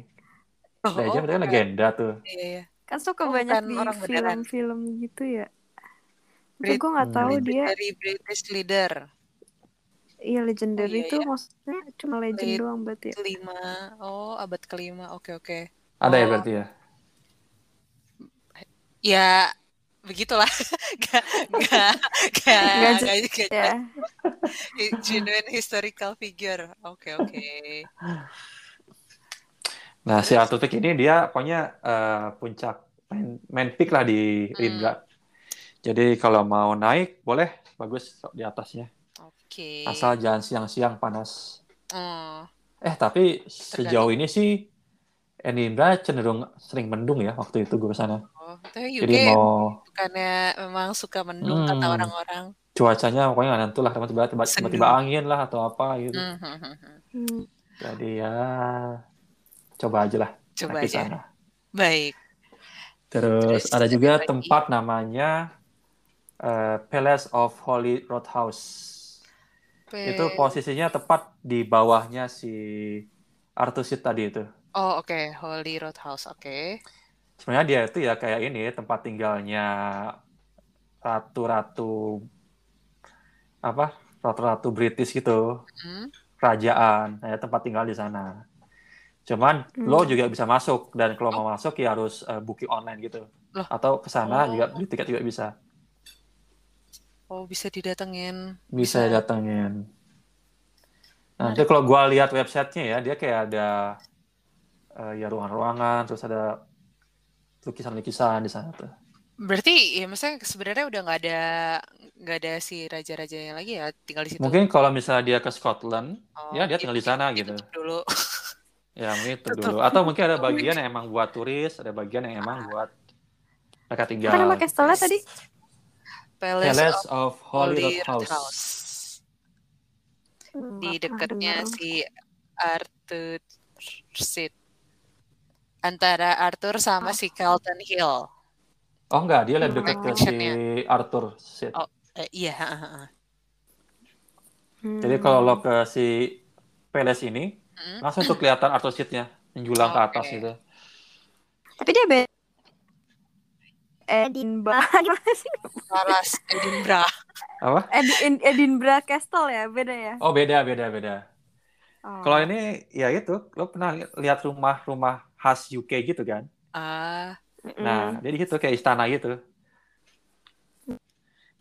Speaker 2: Oh,
Speaker 3: Legend berarti kan
Speaker 2: bukan.
Speaker 3: legenda tuh.
Speaker 2: Iya, iya.
Speaker 1: Kan suka
Speaker 2: Oh,
Speaker 1: banyak
Speaker 2: bukan
Speaker 1: di
Speaker 2: orang beneran.
Speaker 1: film-film gitu ya. Tapi
Speaker 2: Brit-
Speaker 1: gue nggak tahu
Speaker 3: Hmm.
Speaker 1: Oh, dia
Speaker 2: Dari British Leader.
Speaker 1: iya legendary
Speaker 2: Oh, iya,
Speaker 1: itu maksudnya cuma legend
Speaker 2: Lit-
Speaker 1: doang berarti ya.
Speaker 2: Kelima. Oh, abad kelima. Oke, oke.
Speaker 3: Ada ya
Speaker 2: Oh.
Speaker 3: berarti ya.
Speaker 2: Ya, begitulah. Gak, gak, gak,
Speaker 1: Nggak
Speaker 2: gak, gak,
Speaker 1: Ya.
Speaker 2: Hi- genuine historical figure. Oke, oke.
Speaker 3: Nah, si Arthur Peak ini dia pokoknya eh, puncak main, main peak lah di
Speaker 2: Hmm.
Speaker 3: Edinburgh. Jadi kalau mau naik boleh, bagus di atasnya.
Speaker 2: Oke.
Speaker 3: Asal jangan siang-siang panas.
Speaker 2: Oh,
Speaker 3: Eh, tapi sejauh ini sih Edinburgh cenderung sering mendung ya waktu itu gue kesana.
Speaker 2: oh. Tapi UK
Speaker 3: Jadi mau
Speaker 2: bukannya memang suka mendung
Speaker 3: Hmm.
Speaker 2: kata orang-orang.
Speaker 3: cuacanya pokoknya nggak nentu lah, tiba-tiba tiba-
Speaker 2: Sendu.
Speaker 3: tiba-tiba angin lah atau apa gitu.
Speaker 2: Hmm, hmm, hmm, hmm.
Speaker 1: Hmm.
Speaker 3: Jadi ya coba aja lah
Speaker 2: Coba
Speaker 3: naik ke
Speaker 2: aja.
Speaker 3: sana.
Speaker 2: Baik. Terus
Speaker 3: Terus ada juga
Speaker 2: lagi.
Speaker 3: tempat namanya eh, Palace of Holy Roadhouse. Itu
Speaker 2: Pe-
Speaker 3: posisinya tepat di bawahnya si Artusit tadi itu.
Speaker 2: Oh, oke. Holy Roadhouse. Oke.
Speaker 3: sebenarnya dia itu ya kayak ini tempat tinggalnya ratu-ratu apa ratu-ratu British gitu
Speaker 2: Hmm.
Speaker 3: kerajaan ya tempat tinggal di sana cuman
Speaker 1: Hmm.
Speaker 3: lo juga bisa masuk dan kalau mau masuk ya harus eh, booking online gitu
Speaker 2: Oh. Loh.
Speaker 3: atau ke
Speaker 2: Oh.
Speaker 3: sana juga beli tiket juga bisa
Speaker 2: Oh bisa didatengin.
Speaker 3: bisa datengin nanti kalau gua lihat websitenya ya dia kayak ada eh, ya ruangan-ruangan terus ada lukisan-lukisan di sana tuh
Speaker 2: Berarti ya maksudnya sebenarnya udah nggak ada nggak ada si raja-rajanya lagi ya tinggal di situ.
Speaker 3: mungkin kalau misalnya dia ke Scotland
Speaker 2: Oh,
Speaker 3: ya dia tinggal di sana gitu
Speaker 2: ditutup dulu.
Speaker 3: ya mungkin itu
Speaker 2: Tetep.
Speaker 3: dulu atau mungkin ada bagian yang emang buat turis ada bagian
Speaker 2: Ah.
Speaker 3: yang emang buat mereka tinggal
Speaker 1: Apa nama Kestola Kan tadi?
Speaker 2: Palace,
Speaker 3: Palace
Speaker 2: of
Speaker 3: of
Speaker 2: Holy
Speaker 3: Holy Rood
Speaker 2: Rood
Speaker 3: House.
Speaker 2: House. Di dekatnya si Arthur Sid. Antara Arthur sama si Carlton Hill.
Speaker 3: Oh enggak, dia lebih
Speaker 1: Oh.
Speaker 3: dekat ke si Arthur Sid.
Speaker 2: Hmm, Oh. Eh, iya. heeh.
Speaker 1: Hmm.
Speaker 3: Jadi kalau lo ke si Palace ini,
Speaker 2: Hmm.
Speaker 3: langsung tuh kelihatan Arthur Sidnya menjulang ke atas
Speaker 2: Oke.
Speaker 3: gitu.
Speaker 1: Tapi dia be Edinburgh Gimana sih?
Speaker 2: Palace Edinburgh.
Speaker 3: Apa?
Speaker 1: Edin Edinburgh Castle ya beda ya
Speaker 3: Oh beda, beda, beda.
Speaker 1: oh.
Speaker 3: Kalau ini ya itu, lo pernah li- lihat rumah-rumah khas UK gitu kan?
Speaker 2: Ah,
Speaker 1: Oh. Mm-mm.
Speaker 3: Nah, jadi gitu kayak istana gitu.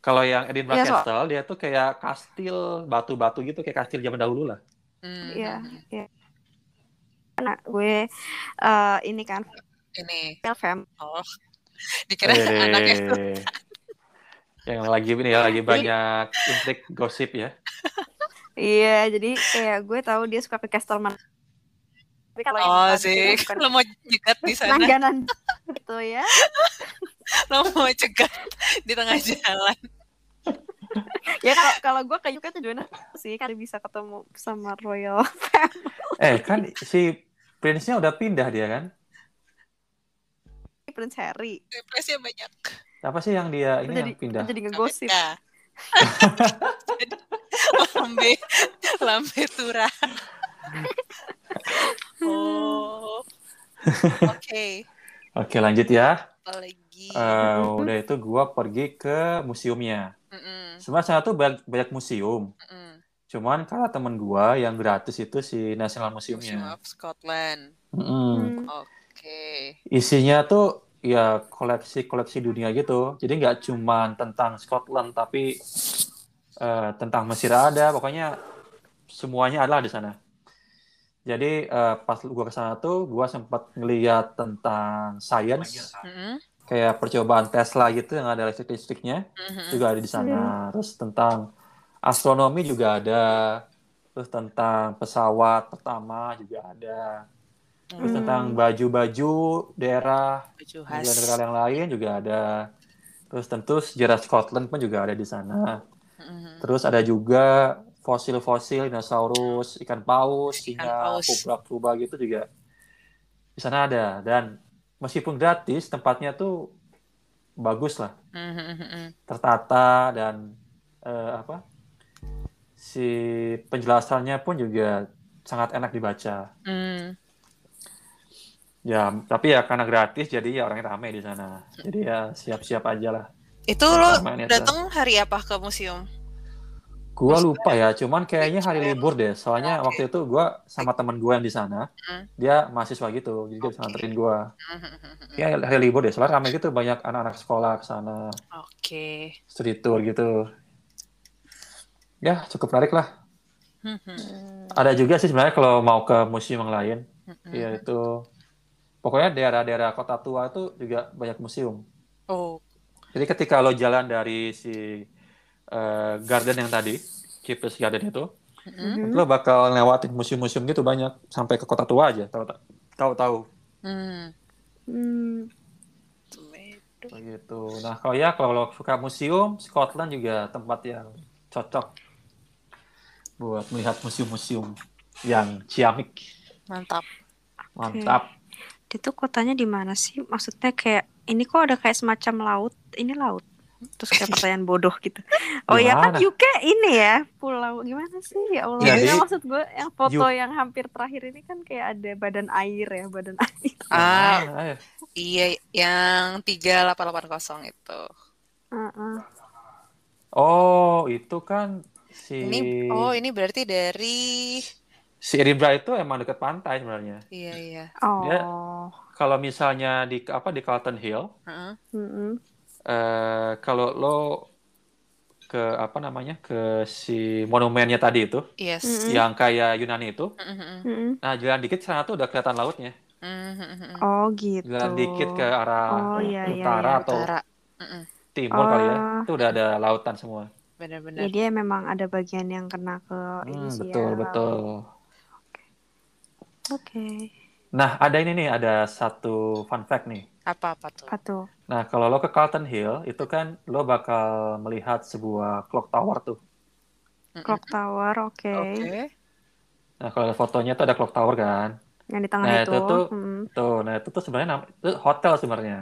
Speaker 3: Kalau yang Edinburgh
Speaker 1: Iya, so-
Speaker 3: Castle, dia tuh kayak kastil batu-batu gitu, kayak kastil zaman dahulu lah.
Speaker 2: hmm.
Speaker 1: Iya, iya. Karena gue eh, ini kan
Speaker 2: Ini.
Speaker 1: film
Speaker 2: Oh. Dikira anaknya
Speaker 3: Hehehe. yang lagi ini ya lagi banyak intrik gosip ya
Speaker 1: Iya, jadi kayak gue tahu dia suka ke Castle Man. Tapi kalau yang
Speaker 2: Oh
Speaker 1: tadi
Speaker 2: sih,
Speaker 1: itu bukan Nah.
Speaker 2: lo mau cegat di sana,
Speaker 1: langganan gitu ya.
Speaker 2: lo mau cegat di tengah jalan.
Speaker 1: Ya kalau kalau gue ke UK tujuannya sih kali bisa ketemu sama Royal.
Speaker 3: eh kan si prince nya udah pindah dia kan
Speaker 1: Prince Harry.
Speaker 2: Depresinya banyak.
Speaker 3: apa sih yang dia ini
Speaker 1: Jadi
Speaker 3: yang pindah
Speaker 1: jadi ngegosip.
Speaker 2: Ya. lambe, lambe tura.
Speaker 1: Hmm.
Speaker 2: Oh, oke.
Speaker 3: oke lanjut ya
Speaker 2: Apalagi,
Speaker 3: Eh, udah itu gua pergi ke museumnya
Speaker 2: Mm-mm,
Speaker 3: sebenarnya sana tuh banyak, banyak museum
Speaker 2: mm-mm.
Speaker 3: cuman karena temen gua yang gratis itu si national
Speaker 2: Museum
Speaker 3: museumnya
Speaker 2: of Scotland. Oh.
Speaker 3: Mm-mm.
Speaker 1: Hmm.
Speaker 2: Oke.
Speaker 3: isinya tuh ya koleksi koleksi dunia gitu jadi nggak cuman tentang Scotland tapi eh, tentang Mesir ada pokoknya semuanya adalah di sana jadi eh, pas gua kesana tuh gua sempat ngeliat tentang science
Speaker 2: Mm-mm,
Speaker 3: kayak percobaan Tesla gitu yang ada listrik listriknya
Speaker 2: mm-mm.
Speaker 3: juga ada di
Speaker 2: Iya.
Speaker 3: sana terus tentang astronomi juga ada terus tentang pesawat pertama juga ada terus
Speaker 1: Hmm.
Speaker 3: tentang baju-baju daerah
Speaker 2: Baju khas.
Speaker 3: negara-negara yang lain juga ada. Terus tentu sejarah Scotland pun juga ada di sana.
Speaker 2: Mm-mm.
Speaker 3: Terus ada juga fosil-fosil dinosaurus, ikan
Speaker 2: Ikan
Speaker 3: paus, singa,
Speaker 2: paus.
Speaker 3: purba-purba gitu juga di sana ada. Dan meskipun gratis, tempatnya tuh bagus lah,
Speaker 2: Mm-mm.
Speaker 3: tertata dan eh, apa si penjelasannya pun juga sangat enak dibaca.
Speaker 2: Mm.
Speaker 3: Ya, tapi ya karena gratis jadi ya orangnya ramai di sana. Jadi ya siap-siap aja lah.
Speaker 2: Itu lo
Speaker 3: Ramai nih, Teh.
Speaker 2: datang hari apa ke museum?
Speaker 3: Gua
Speaker 2: Terus
Speaker 3: lupa ya, cuman kayaknya hari libur deh.
Speaker 2: Iya,
Speaker 3: Soalnya
Speaker 2: Oke.
Speaker 3: waktu itu gua sama temen gua yang di sana,
Speaker 2: Hmm.
Speaker 3: dia mahasiswa gitu, jadi dia bisa
Speaker 2: Oke. Hmm.
Speaker 3: nganterin gua.
Speaker 2: Mm-mm.
Speaker 3: Ya hari libur deh, soalnya ramai gitu banyak anak-anak sekolah ke sana,
Speaker 2: Oke.
Speaker 3: studi tour gitu. Ya, cukup menarik lah.
Speaker 2: Mm-mm.
Speaker 4: Hmm.
Speaker 3: Ada juga sih sebenarnya kalau mau ke museum yang lain,
Speaker 2: Mm-mm.
Speaker 3: ya itu pokoknya daerah-daerah kota tua itu juga banyak museum.
Speaker 2: Oh,
Speaker 3: Jadi ketika lo jalan dari si eh, garden yang tadi, Cypress Garden itu,
Speaker 1: Mhm.
Speaker 2: mm-mm.
Speaker 3: lo bakal lewatin museum-museum gitu banyak sampai ke kota tua aja tahu tahu tahu
Speaker 2: Mm.
Speaker 1: Hmm.
Speaker 2: Tomato.
Speaker 3: gitu nah kalau ya kalau lo suka museum Scotland juga tempat yang cocok buat melihat museum-museum yang ciamik
Speaker 2: Mantap.
Speaker 3: mantap
Speaker 1: Itu kotanya di mana sih? Maksudnya kayak ini kok ada kayak semacam laut? Ini laut. Terus kayak pertanyaan bodoh gitu. Oh iya kan
Speaker 3: Gimana?
Speaker 1: UK ini ya pulau gimana sih ya Allah.
Speaker 3: Jadi,
Speaker 1: Nggak, maksud gue yang foto
Speaker 3: you-
Speaker 1: yang hampir terakhir ini kan kayak ada badan air ya badan air.
Speaker 2: Ah,
Speaker 3: Ayo.
Speaker 2: iya yang 3880 itu.
Speaker 1: Heeh.
Speaker 3: Oh, itu kan si
Speaker 2: Ini oh ini berarti dari
Speaker 3: si Edinburgh itu emang dekat pantai sebenarnya.
Speaker 2: iya iya.
Speaker 1: Oh.
Speaker 3: Ya. Kalau misalnya di apa di Carlton Hill,
Speaker 2: Heeh.
Speaker 1: Mm-mm.
Speaker 3: eh, kalau lo ke apa namanya ke si monumennya tadi itu,
Speaker 2: Yes.
Speaker 1: Mm-mm.
Speaker 3: yang kayak Yunani itu,
Speaker 2: Mm-mm.
Speaker 1: Mm-mm.
Speaker 3: nah jalan dikit sana tuh udah kelihatan lautnya,
Speaker 2: Mm-mm.
Speaker 1: Oh gitu.
Speaker 3: jalan dikit ke
Speaker 1: Oh
Speaker 3: arah
Speaker 1: iya iya.
Speaker 3: utara
Speaker 1: iya.
Speaker 3: atau
Speaker 2: Utara. Mm-mm.
Speaker 3: timur kali ya,
Speaker 1: Ah.
Speaker 3: itu udah ada lautan semua.
Speaker 1: Ya
Speaker 2: Benar-benar.
Speaker 1: dia memang ada bagian yang kena ke ini
Speaker 3: Hmm,
Speaker 1: sih
Speaker 3: betul
Speaker 1: ya.
Speaker 3: betul.
Speaker 1: Oke.
Speaker 3: Nah ada ini nih ada satu fun fact nih.
Speaker 2: Apa-apa tuh?
Speaker 1: Apa tuh?
Speaker 3: Nah, kalau lo ke Carlton Hill, itu kan lo bakal melihat sebuah clock tower tuh.
Speaker 2: Mm-mm.
Speaker 1: Clock Tower, oke.
Speaker 2: Oke.
Speaker 3: Nah, kalau ada fotonya tuh ada clock tower kan.
Speaker 1: Yang di tengah
Speaker 3: Nah,
Speaker 1: itu.
Speaker 3: itu tuh-
Speaker 1: Mm.
Speaker 3: Tuh, nah itu tuh sebenarnya nam- itu hotel sebenarnya.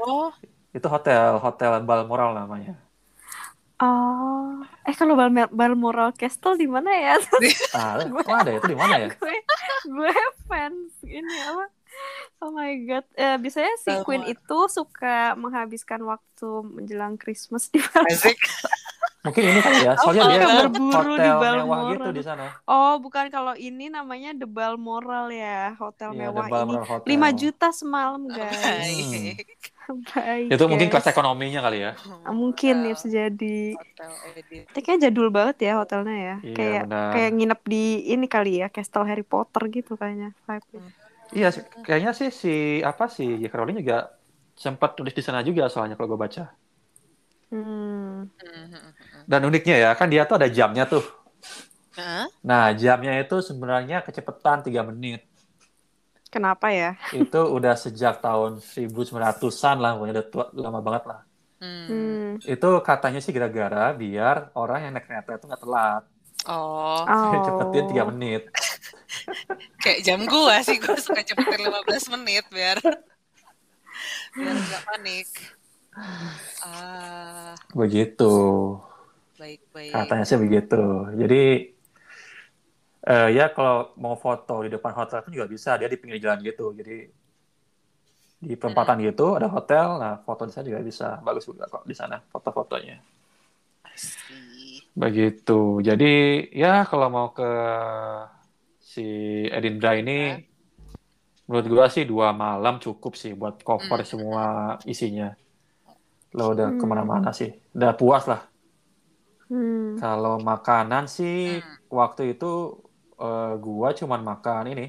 Speaker 2: Oh,
Speaker 3: Itu hotel, hotel Balmoral namanya.
Speaker 1: Oh, eh kalau Bal- Balmoral Castle di mana ya?
Speaker 3: Ah, kok ada ya? Itu di mana ya?
Speaker 1: gue gue fans ini apa oh my god Eh, biasanya si
Speaker 2: Balmoral.
Speaker 1: Queen itu suka menghabiskan waktu menjelang Christmas di Balmoral
Speaker 2: asik.
Speaker 3: Mungkin ini kali ya. Soalnya
Speaker 2: Oh,
Speaker 3: dia
Speaker 2: kalau
Speaker 1: berburu di
Speaker 3: hotel mewah
Speaker 1: Balmoral.
Speaker 3: gitu di sana.
Speaker 1: oh bukan kalau ini namanya The Balmoral ya hotel
Speaker 3: Iya, ada
Speaker 1: mewah ini
Speaker 3: Balmoral Hotel.
Speaker 1: 5 juta semalam guys
Speaker 2: Baik.
Speaker 1: Baik,
Speaker 3: Itu mungkin
Speaker 1: guys.
Speaker 3: kelas ekonominya kali ya.
Speaker 1: mungkin ya
Speaker 2: Hotel-
Speaker 1: bisa jadi
Speaker 2: hotel edit.
Speaker 1: Tapi kayaknya jadul banget ya hotelnya ya
Speaker 3: Iya,
Speaker 1: kayak
Speaker 3: benar.
Speaker 1: kayak nginep di ini kali ya Castle Harry Potter gitu kayaknya vibe-nya.
Speaker 3: Iya, se- kayaknya sih si apa sih ya Caroline juga sempat tulis di sana juga soalnya kalau gue baca.
Speaker 1: hmm.
Speaker 3: Dan uniknya ya, kan dia tuh ada jamnya tuh.
Speaker 2: Hah?
Speaker 3: Nah, jamnya itu sebenarnya kecepatan 3 menit.
Speaker 1: kenapa ya
Speaker 3: Itu udah sejak tahun 1900-an lah, pokoknya udah tua, lama banget lah.
Speaker 2: Hmm.
Speaker 1: hmm.
Speaker 3: Itu katanya sih gara-gara biar orang yang naik kereta itu nggak telat.
Speaker 2: Oh,
Speaker 3: Cepetin 3
Speaker 1: Hmm. Oh.
Speaker 3: menit.
Speaker 2: kayak jam gua sih gua suka cepetin 15 menit biar biar nggak panik. Ah,
Speaker 3: Begitu.
Speaker 2: baik-baik.
Speaker 3: Katanya sih begitu. Jadi, eh, ya kalau mau foto di depan hotel pun juga bisa. Dia di pinggir jalan gitu. Jadi, di perempatan gitu ada hotel. Nah, foto di sana juga bisa. Bagus juga kok di sana foto-fotonya.
Speaker 2: Asik.
Speaker 3: Begitu. Jadi ya kalau mau ke si Edinburgh ini,
Speaker 2: Ya.
Speaker 3: menurut gua sih dua malam cukup sih buat
Speaker 2: Hmm.
Speaker 3: cover semua isinya. Lo udah
Speaker 1: Hmm.
Speaker 3: kemana-mana sih, udah puas lah.
Speaker 1: Hmm.
Speaker 3: Kalau makanan sih
Speaker 2: Hmm.
Speaker 3: waktu itu eh, gua cuman makan ini.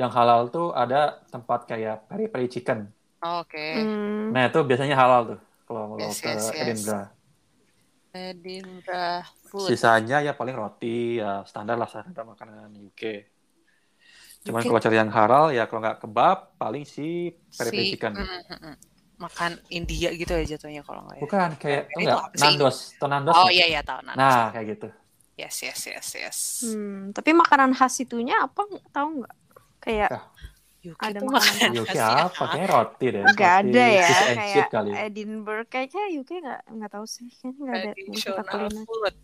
Speaker 3: Yang halal tuh ada tempat kayak peri-peri chicken.
Speaker 2: Oke.
Speaker 1: Hmm.
Speaker 3: Nah itu biasanya halal tuh kalau lo
Speaker 2: Yes,
Speaker 3: ke
Speaker 2: yes, yes.
Speaker 3: Edinburgh.
Speaker 2: Edinburgh food.
Speaker 3: Sisanya ya paling roti, ya standar lah standar makanan UK. Cuman
Speaker 2: UK.
Speaker 3: kalau cari yang halal ya kalau nggak kebab paling si peri-peri
Speaker 2: Si-
Speaker 3: chicken.
Speaker 2: mm, mm, mm. Makan India gitu ya jatuhnya kalau nggak ya.
Speaker 3: Bukan kayak
Speaker 2: Itu
Speaker 3: enggak,
Speaker 2: apa sih?
Speaker 3: nandos, atau nandos.
Speaker 2: Oh
Speaker 3: nggak?
Speaker 2: iya iya tahu nah.
Speaker 3: Nah, kayak gitu.
Speaker 2: Yes yes yes yes.
Speaker 1: Hmm, tapi makanan khas itunya apa nggak- tahu nggak? Kayak
Speaker 2: Yuki
Speaker 1: Ada
Speaker 2: tuh
Speaker 1: makanan
Speaker 2: makanan
Speaker 3: UK
Speaker 2: khasnya
Speaker 3: apa? Kayaknya roti deh.
Speaker 1: nggak
Speaker 3: roti
Speaker 1: ada ya,
Speaker 3: cheese and
Speaker 1: kayak
Speaker 3: chip kali.
Speaker 1: Edinburgh kayaknya UK nggak nggak tahu sih, kayaknya nggak ada yang kita
Speaker 2: Traditional
Speaker 1: kuliner.
Speaker 2: food.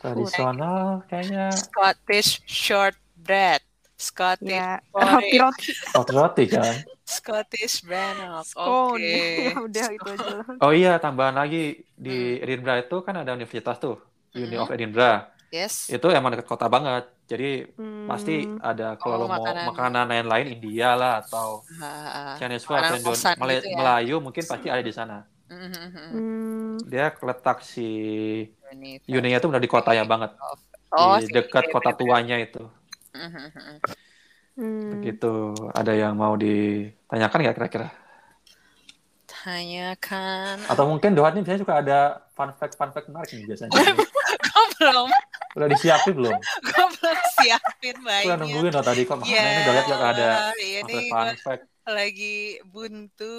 Speaker 3: Tradisional kayaknya
Speaker 2: Scottish shortbread. Scottish
Speaker 1: Ya, roti
Speaker 2: porridge.
Speaker 1: roti
Speaker 3: roti roti kan.
Speaker 2: Scottish brand.
Speaker 1: scone.
Speaker 2: Oke.
Speaker 1: ya udah itu aja lah.
Speaker 3: Oh iya, tambahan lagi di
Speaker 2: Hmm.
Speaker 3: Edinburgh itu kan ada universitas tuh, Uni
Speaker 2: Mm-mm.
Speaker 3: of Edinburgh.
Speaker 2: Yes.
Speaker 3: Itu emang dekat kota banget. Jadi
Speaker 1: Hmm.
Speaker 3: pasti uh, ada
Speaker 2: Oh,
Speaker 3: kalau lo mau
Speaker 2: makanan.
Speaker 3: makanan lain-lain India lah atau
Speaker 2: Ah, ah, ah.
Speaker 3: Chinese food atau
Speaker 2: Makanan
Speaker 3: Indo-
Speaker 2: kosan
Speaker 3: Mala-
Speaker 2: gitu ya.
Speaker 3: Melayu mungkin pasti ada di sana.
Speaker 2: Mhm.
Speaker 1: Hmm.
Speaker 3: Dia letak si
Speaker 2: Uni-
Speaker 3: Uninya itu benar di kotanya banget,
Speaker 2: mm-hmm. Iya. Oh,
Speaker 3: di
Speaker 2: si
Speaker 3: dekat
Speaker 2: Uni-
Speaker 3: kota tuanya itu.
Speaker 2: Mhm.
Speaker 1: Hmm.
Speaker 3: Begitu. Ada yang mau ditanyakan nggak kira-kira?
Speaker 2: Tanyakan.
Speaker 3: Atau mungkin Dohan ini biasanya suka ada fun fact fun fact menarik nih biasanya.
Speaker 2: Gue Oh, belum,
Speaker 3: Udah disiapin belum?
Speaker 2: gue belum siapin
Speaker 3: Aku
Speaker 2: banyak.
Speaker 3: udah nungguin loh tadi kok makanya
Speaker 2: Ya,
Speaker 3: ini udah lihat lihat ada
Speaker 2: iya,
Speaker 3: fun
Speaker 2: ini
Speaker 3: fact
Speaker 2: gua
Speaker 3: fun fact.
Speaker 2: lagi buntu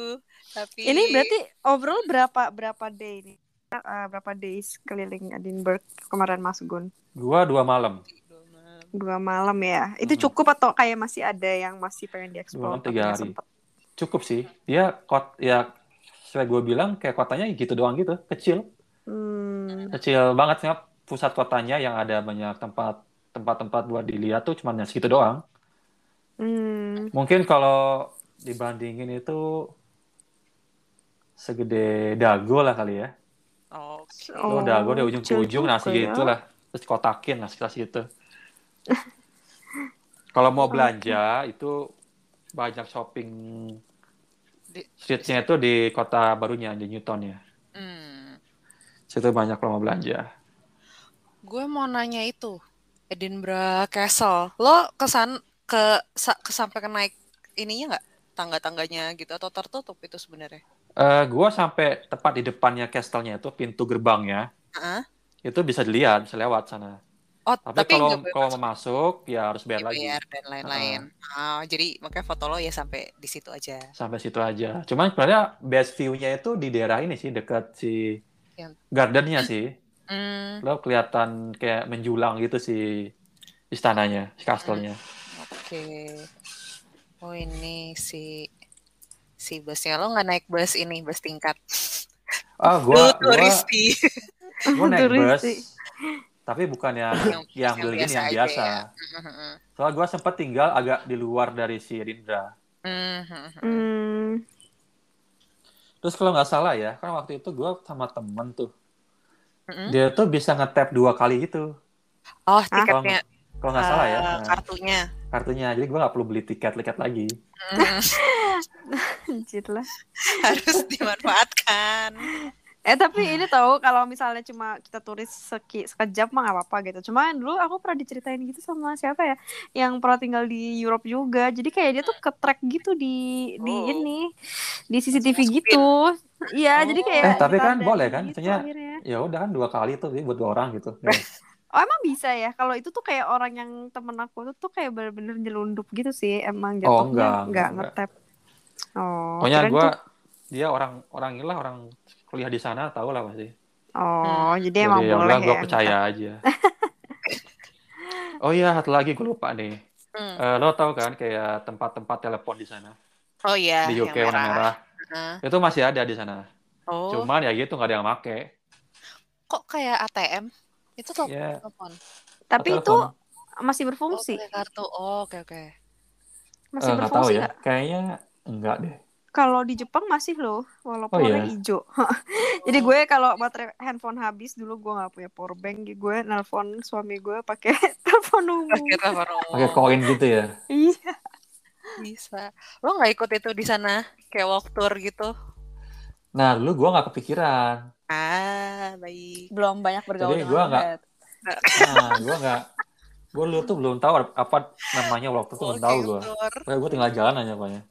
Speaker 2: tapi
Speaker 1: Ini berarti overall berapa berapa day ini? Eh, berapa days keliling Edinburgh kemarin Mas Gun?
Speaker 3: Gua dua malam,
Speaker 1: Dua malam ya. Itu
Speaker 3: Mhm.
Speaker 1: cukup atau kayak masih ada yang masih pengen dieksplor?
Speaker 3: Dua, tiga
Speaker 1: tapi nggak
Speaker 3: hari.
Speaker 1: sempet?
Speaker 3: cukup sih. Dia kot ya sesuai gue bilang kayak kotanya gitu doang gitu kecil
Speaker 1: Hmm.
Speaker 3: kecil banget ya pusat kotanya yang ada banyak tempat tempat-tempat buat dilihat tuh cuman yang segitu doang
Speaker 1: Hmm.
Speaker 3: mungkin kalau dibandingin itu segede dago lah kali ya
Speaker 2: Oke.
Speaker 1: Oh,
Speaker 3: Lo dago dari ujung ke
Speaker 1: kecil
Speaker 3: ujung
Speaker 1: juga
Speaker 3: nah
Speaker 1: ya.
Speaker 3: segitu lah terus kotakin lah sekitar segitu kalau
Speaker 1: Oh,
Speaker 3: mau belanja itu banyak shopping
Speaker 2: Di-
Speaker 3: streetnya itu di kota barunya di Newton ya
Speaker 2: Hmm.
Speaker 3: situ banyak kalau mau belanja
Speaker 2: Gue mau nanya itu Edinburgh Castle. Lo kesan ke, sa- ke sampai ke naik ininya nggak tangga-tangganya gitu atau tertutup itu sebenarnya?
Speaker 3: Eh, gua sampai tepat di depannya castle-nya itu pintu gerbangnya
Speaker 2: Heeh.
Speaker 3: itu bisa dilihat bisa lewat sana
Speaker 2: Oh,
Speaker 3: tapi,
Speaker 2: tapi
Speaker 3: kalau
Speaker 2: nggak boleh
Speaker 3: kalau
Speaker 2: masuk
Speaker 3: mau masuk ya harus bayar lagi
Speaker 2: DPR dan lain-lain. Ah, jadi makanya foto lo ya sampai di situ aja.
Speaker 3: sampai situ aja. Cuman sebenarnya best view-nya itu di daerah ini sih dekat si
Speaker 2: Yang-
Speaker 3: gardennya sih.
Speaker 2: Ya. Hmm,
Speaker 3: Lo kelihatan kayak menjulang gitu si istananya, si kastelnya.
Speaker 2: oke. Oh ini si si busnya lo nggak naik bus ini bus tingkat.
Speaker 3: Ah,
Speaker 2: Lo
Speaker 3: gua gua,
Speaker 2: turisti.
Speaker 3: gua naik bus.
Speaker 1: Turistik.
Speaker 3: Tapi bukan yang yang beli ini yang
Speaker 2: aja
Speaker 3: biasa.
Speaker 2: ya.
Speaker 3: Soalnya gua sempat tinggal agak di luar dari si Rindra.
Speaker 2: Mhm.
Speaker 1: Hmm.
Speaker 3: Terus kalau nggak salah ya, kan waktu itu gua sama temen tuh.
Speaker 2: Mhm.
Speaker 3: Dia tuh bisa ngetap dua kali gitu.
Speaker 2: Oh
Speaker 3: Kalau
Speaker 2: tiketnya,
Speaker 3: nggak- kalau nggak salah
Speaker 2: eh,
Speaker 3: ya. Nah,
Speaker 2: kartunya.
Speaker 3: kartunya. Jadi gua nggak perlu beli tiket-tiket lagi.
Speaker 2: Mhm.
Speaker 1: Anjir lah.
Speaker 2: Harus dimanfaatkan.
Speaker 1: Eh tapi ini tahu kalau misalnya cuma kita turis seki, sekejap mah nggak apa-apa gitu. Cuma dulu aku pernah diceritain gitu sama siapa ya, yang pernah tinggal di Europe juga. Jadi kayak dia tuh ke track gitu di di
Speaker 2: Oh.
Speaker 1: ini di CCTV
Speaker 2: Masukin.
Speaker 1: gitu. Iya,
Speaker 2: Oh.
Speaker 1: jadi kayak.
Speaker 3: Eh, tapi kan
Speaker 1: ditandain
Speaker 3: boleh kan,
Speaker 1: gitu
Speaker 3: maksudnya-
Speaker 1: akhirnya.
Speaker 3: ya udah kan dua kali tuh jadi buat dua orang gitu ya.
Speaker 1: Oh emang bisa ya? Kalau itu tuh kayak orang yang temen aku tuh, tuh kayak bener-bener nyelundup gitu sih. Emang jatuhnya
Speaker 3: Oh, enggak,
Speaker 1: nggak
Speaker 3: enggak.
Speaker 1: ngetap. Oh,
Speaker 3: pokoknya
Speaker 1: kirain
Speaker 3: gue
Speaker 1: tuh-
Speaker 3: dia orang orang gila orang kuliah di sana tau lah pasti
Speaker 4: Hmm.
Speaker 1: Oh, jadi
Speaker 3: Jadi
Speaker 1: emang
Speaker 3: ya
Speaker 1: boleh
Speaker 3: udah gue
Speaker 1: ya,
Speaker 3: percaya aja oh iya satu lagi gue lupa nih
Speaker 2: Hmm.
Speaker 3: Eh, lo tau kan kayak tempat-tempat telepon di sana
Speaker 2: Oh iya,
Speaker 3: Eh, di UK
Speaker 2: yang
Speaker 3: warna
Speaker 2: merah.
Speaker 3: merah
Speaker 2: Heeh.
Speaker 3: itu masih ada di sana
Speaker 2: Oh,
Speaker 3: cuman ya gitu nggak ada yang make
Speaker 2: kok kayak ATM? Itu tuh
Speaker 3: Iya.
Speaker 2: telepon.
Speaker 1: ngetap. Tapi itu
Speaker 3: telepon.
Speaker 1: masih
Speaker 2: Oh,
Speaker 1: berfungsi.
Speaker 2: pakai kartu. Oh, oke oke.
Speaker 1: Masih
Speaker 3: Eh, nggak tahu
Speaker 1: berfungsi
Speaker 3: ya
Speaker 1: nggak?
Speaker 3: kayaknya enggak deh
Speaker 1: Kalau di Jepang masih loh, walaupun
Speaker 3: Oh,
Speaker 1: warna
Speaker 3: iya.
Speaker 1: hijau. Jadi gue kalau baterai handphone habis dulu gue nggak punya power bank, gue nelpon suami gue pakai telepon umum.
Speaker 2: Pakai telepon
Speaker 3: pakai
Speaker 2: umum.
Speaker 1: Oh.
Speaker 3: koin gitu ya
Speaker 1: Iya.
Speaker 2: Bisa. Lo nggak ikut itu di sana kayak walk tour gitu?
Speaker 3: nah lu gue nggak kepikiran
Speaker 2: Ah, baik.
Speaker 4: Belum banyak bergaul
Speaker 3: Jadi
Speaker 4: dengan
Speaker 3: gua nggak-
Speaker 4: Matt.
Speaker 3: nah gue nggak gue lu tuh belum tahu apa namanya waktu itu belum tahu
Speaker 2: Walking
Speaker 3: gue
Speaker 2: tour.
Speaker 3: gue tinggal jalan aja pokoknya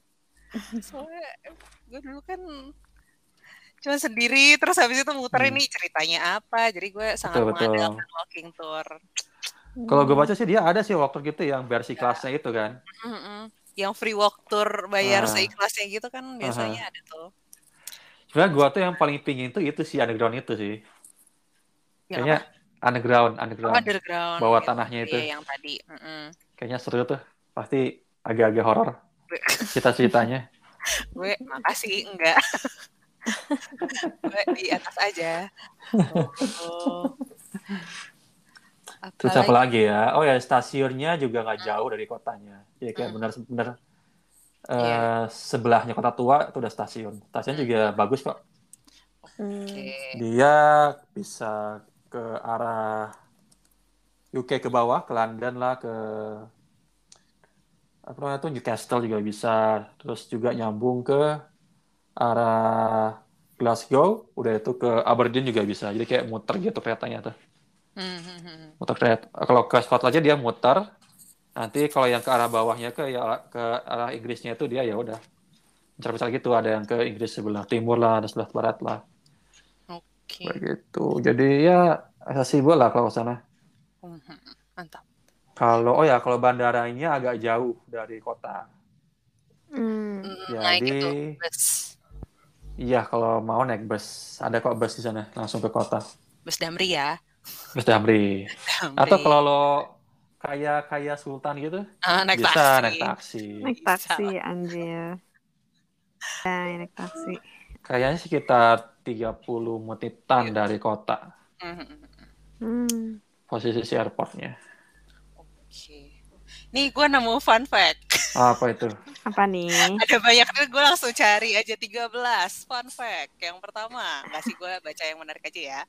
Speaker 2: Soalnya gue dulu kan cuma sendiri terus habis itu muter
Speaker 3: Hmm.
Speaker 2: ini ceritanya apa. Jadi gue sangat
Speaker 3: Betul, betul.
Speaker 2: mengandalkan walking tour.
Speaker 3: Kalau gue baca sih dia ada sih waktu gitu yang versi kelasnya itu kan.
Speaker 2: Mm-mm. Yang free walk tour bayar
Speaker 3: Ah.
Speaker 2: seikhlasnya gitu kan biasanya ada tuh.
Speaker 3: Sebenarnya gue tuh yang paling pingin tuh itu si underground itu sih.
Speaker 1: Ya,
Speaker 2: Yang
Speaker 3: Kayaknya
Speaker 2: apa?
Speaker 3: underground,
Speaker 2: Oh,
Speaker 3: underground.
Speaker 2: underground.
Speaker 3: Bawah
Speaker 2: gitu.
Speaker 3: tanahnya itu.
Speaker 2: Iya, yang tadi. Mm-mm.
Speaker 3: Kayaknya seru tuh. Pasti agak-agak horor cerita-ceritanya.
Speaker 2: gue makasih enggak gue di atas aja oh.
Speaker 3: Terus apa lagi ya? Oh ya stasiunnya juga nggak jauh dari kotanya. Jadi kayak
Speaker 2: Hmm.
Speaker 3: benar-benar eh,
Speaker 2: Iya.
Speaker 3: sebelahnya kota tua itu udah stasiun. Stasiun
Speaker 2: Hmm.
Speaker 3: juga bagus kok.
Speaker 4: Hmm.
Speaker 2: Oke.
Speaker 3: Dia bisa ke arah UK ke bawah, ke London lah, ke apa namanya tuh Newcastle juga bisa. Terus juga nyambung ke arah Glasgow, udah itu ke Aberdeen juga bisa. Jadi kayak muter gitu keretanya tuh.
Speaker 2: Hmm, hmm, hmm.
Speaker 3: Muter kereta. Kalau ke Scotland aja dia muter. Nanti kalau yang ke arah bawahnya ke ya ke arah Inggrisnya itu dia ya udah. Misal-misal gitu ada yang ke Inggris sebelah timur lah, ada sebelah barat lah.
Speaker 2: oke
Speaker 3: Begitu. Jadi ya accessible lah kalau ke sana.
Speaker 2: Hmm, hmm. mantap
Speaker 3: Kalau oh ya kalau bandaranya agak jauh dari kota.
Speaker 1: Hmm.
Speaker 2: Hmm, naik itu
Speaker 3: Ya, Jadi
Speaker 2: bus
Speaker 3: iya kalau mau naik bus ada kok bus di sana langsung ke kota.
Speaker 2: bus damri ya
Speaker 3: Bus Damri.
Speaker 2: Damri.
Speaker 3: Atau kalau lo kayak kayak sultan gitu
Speaker 2: Ah, naik
Speaker 3: bisa
Speaker 2: taksi Iya,
Speaker 3: naik taksi.
Speaker 1: Ya, Naik taksi anjir. Nah, naik taksi.
Speaker 3: Kayaknya sekitar 30 menitan dari kota
Speaker 2: Mhm.
Speaker 1: Hmm.
Speaker 3: posisi si airportnya.
Speaker 2: Oke. Nih gue nemu fun fact.
Speaker 3: Apa itu?
Speaker 1: Apa nih?
Speaker 2: Ada banyak tapi gue langsung cari aja 13 fun fact. Yang pertama, nggak sih gue baca yang menarik aja ya.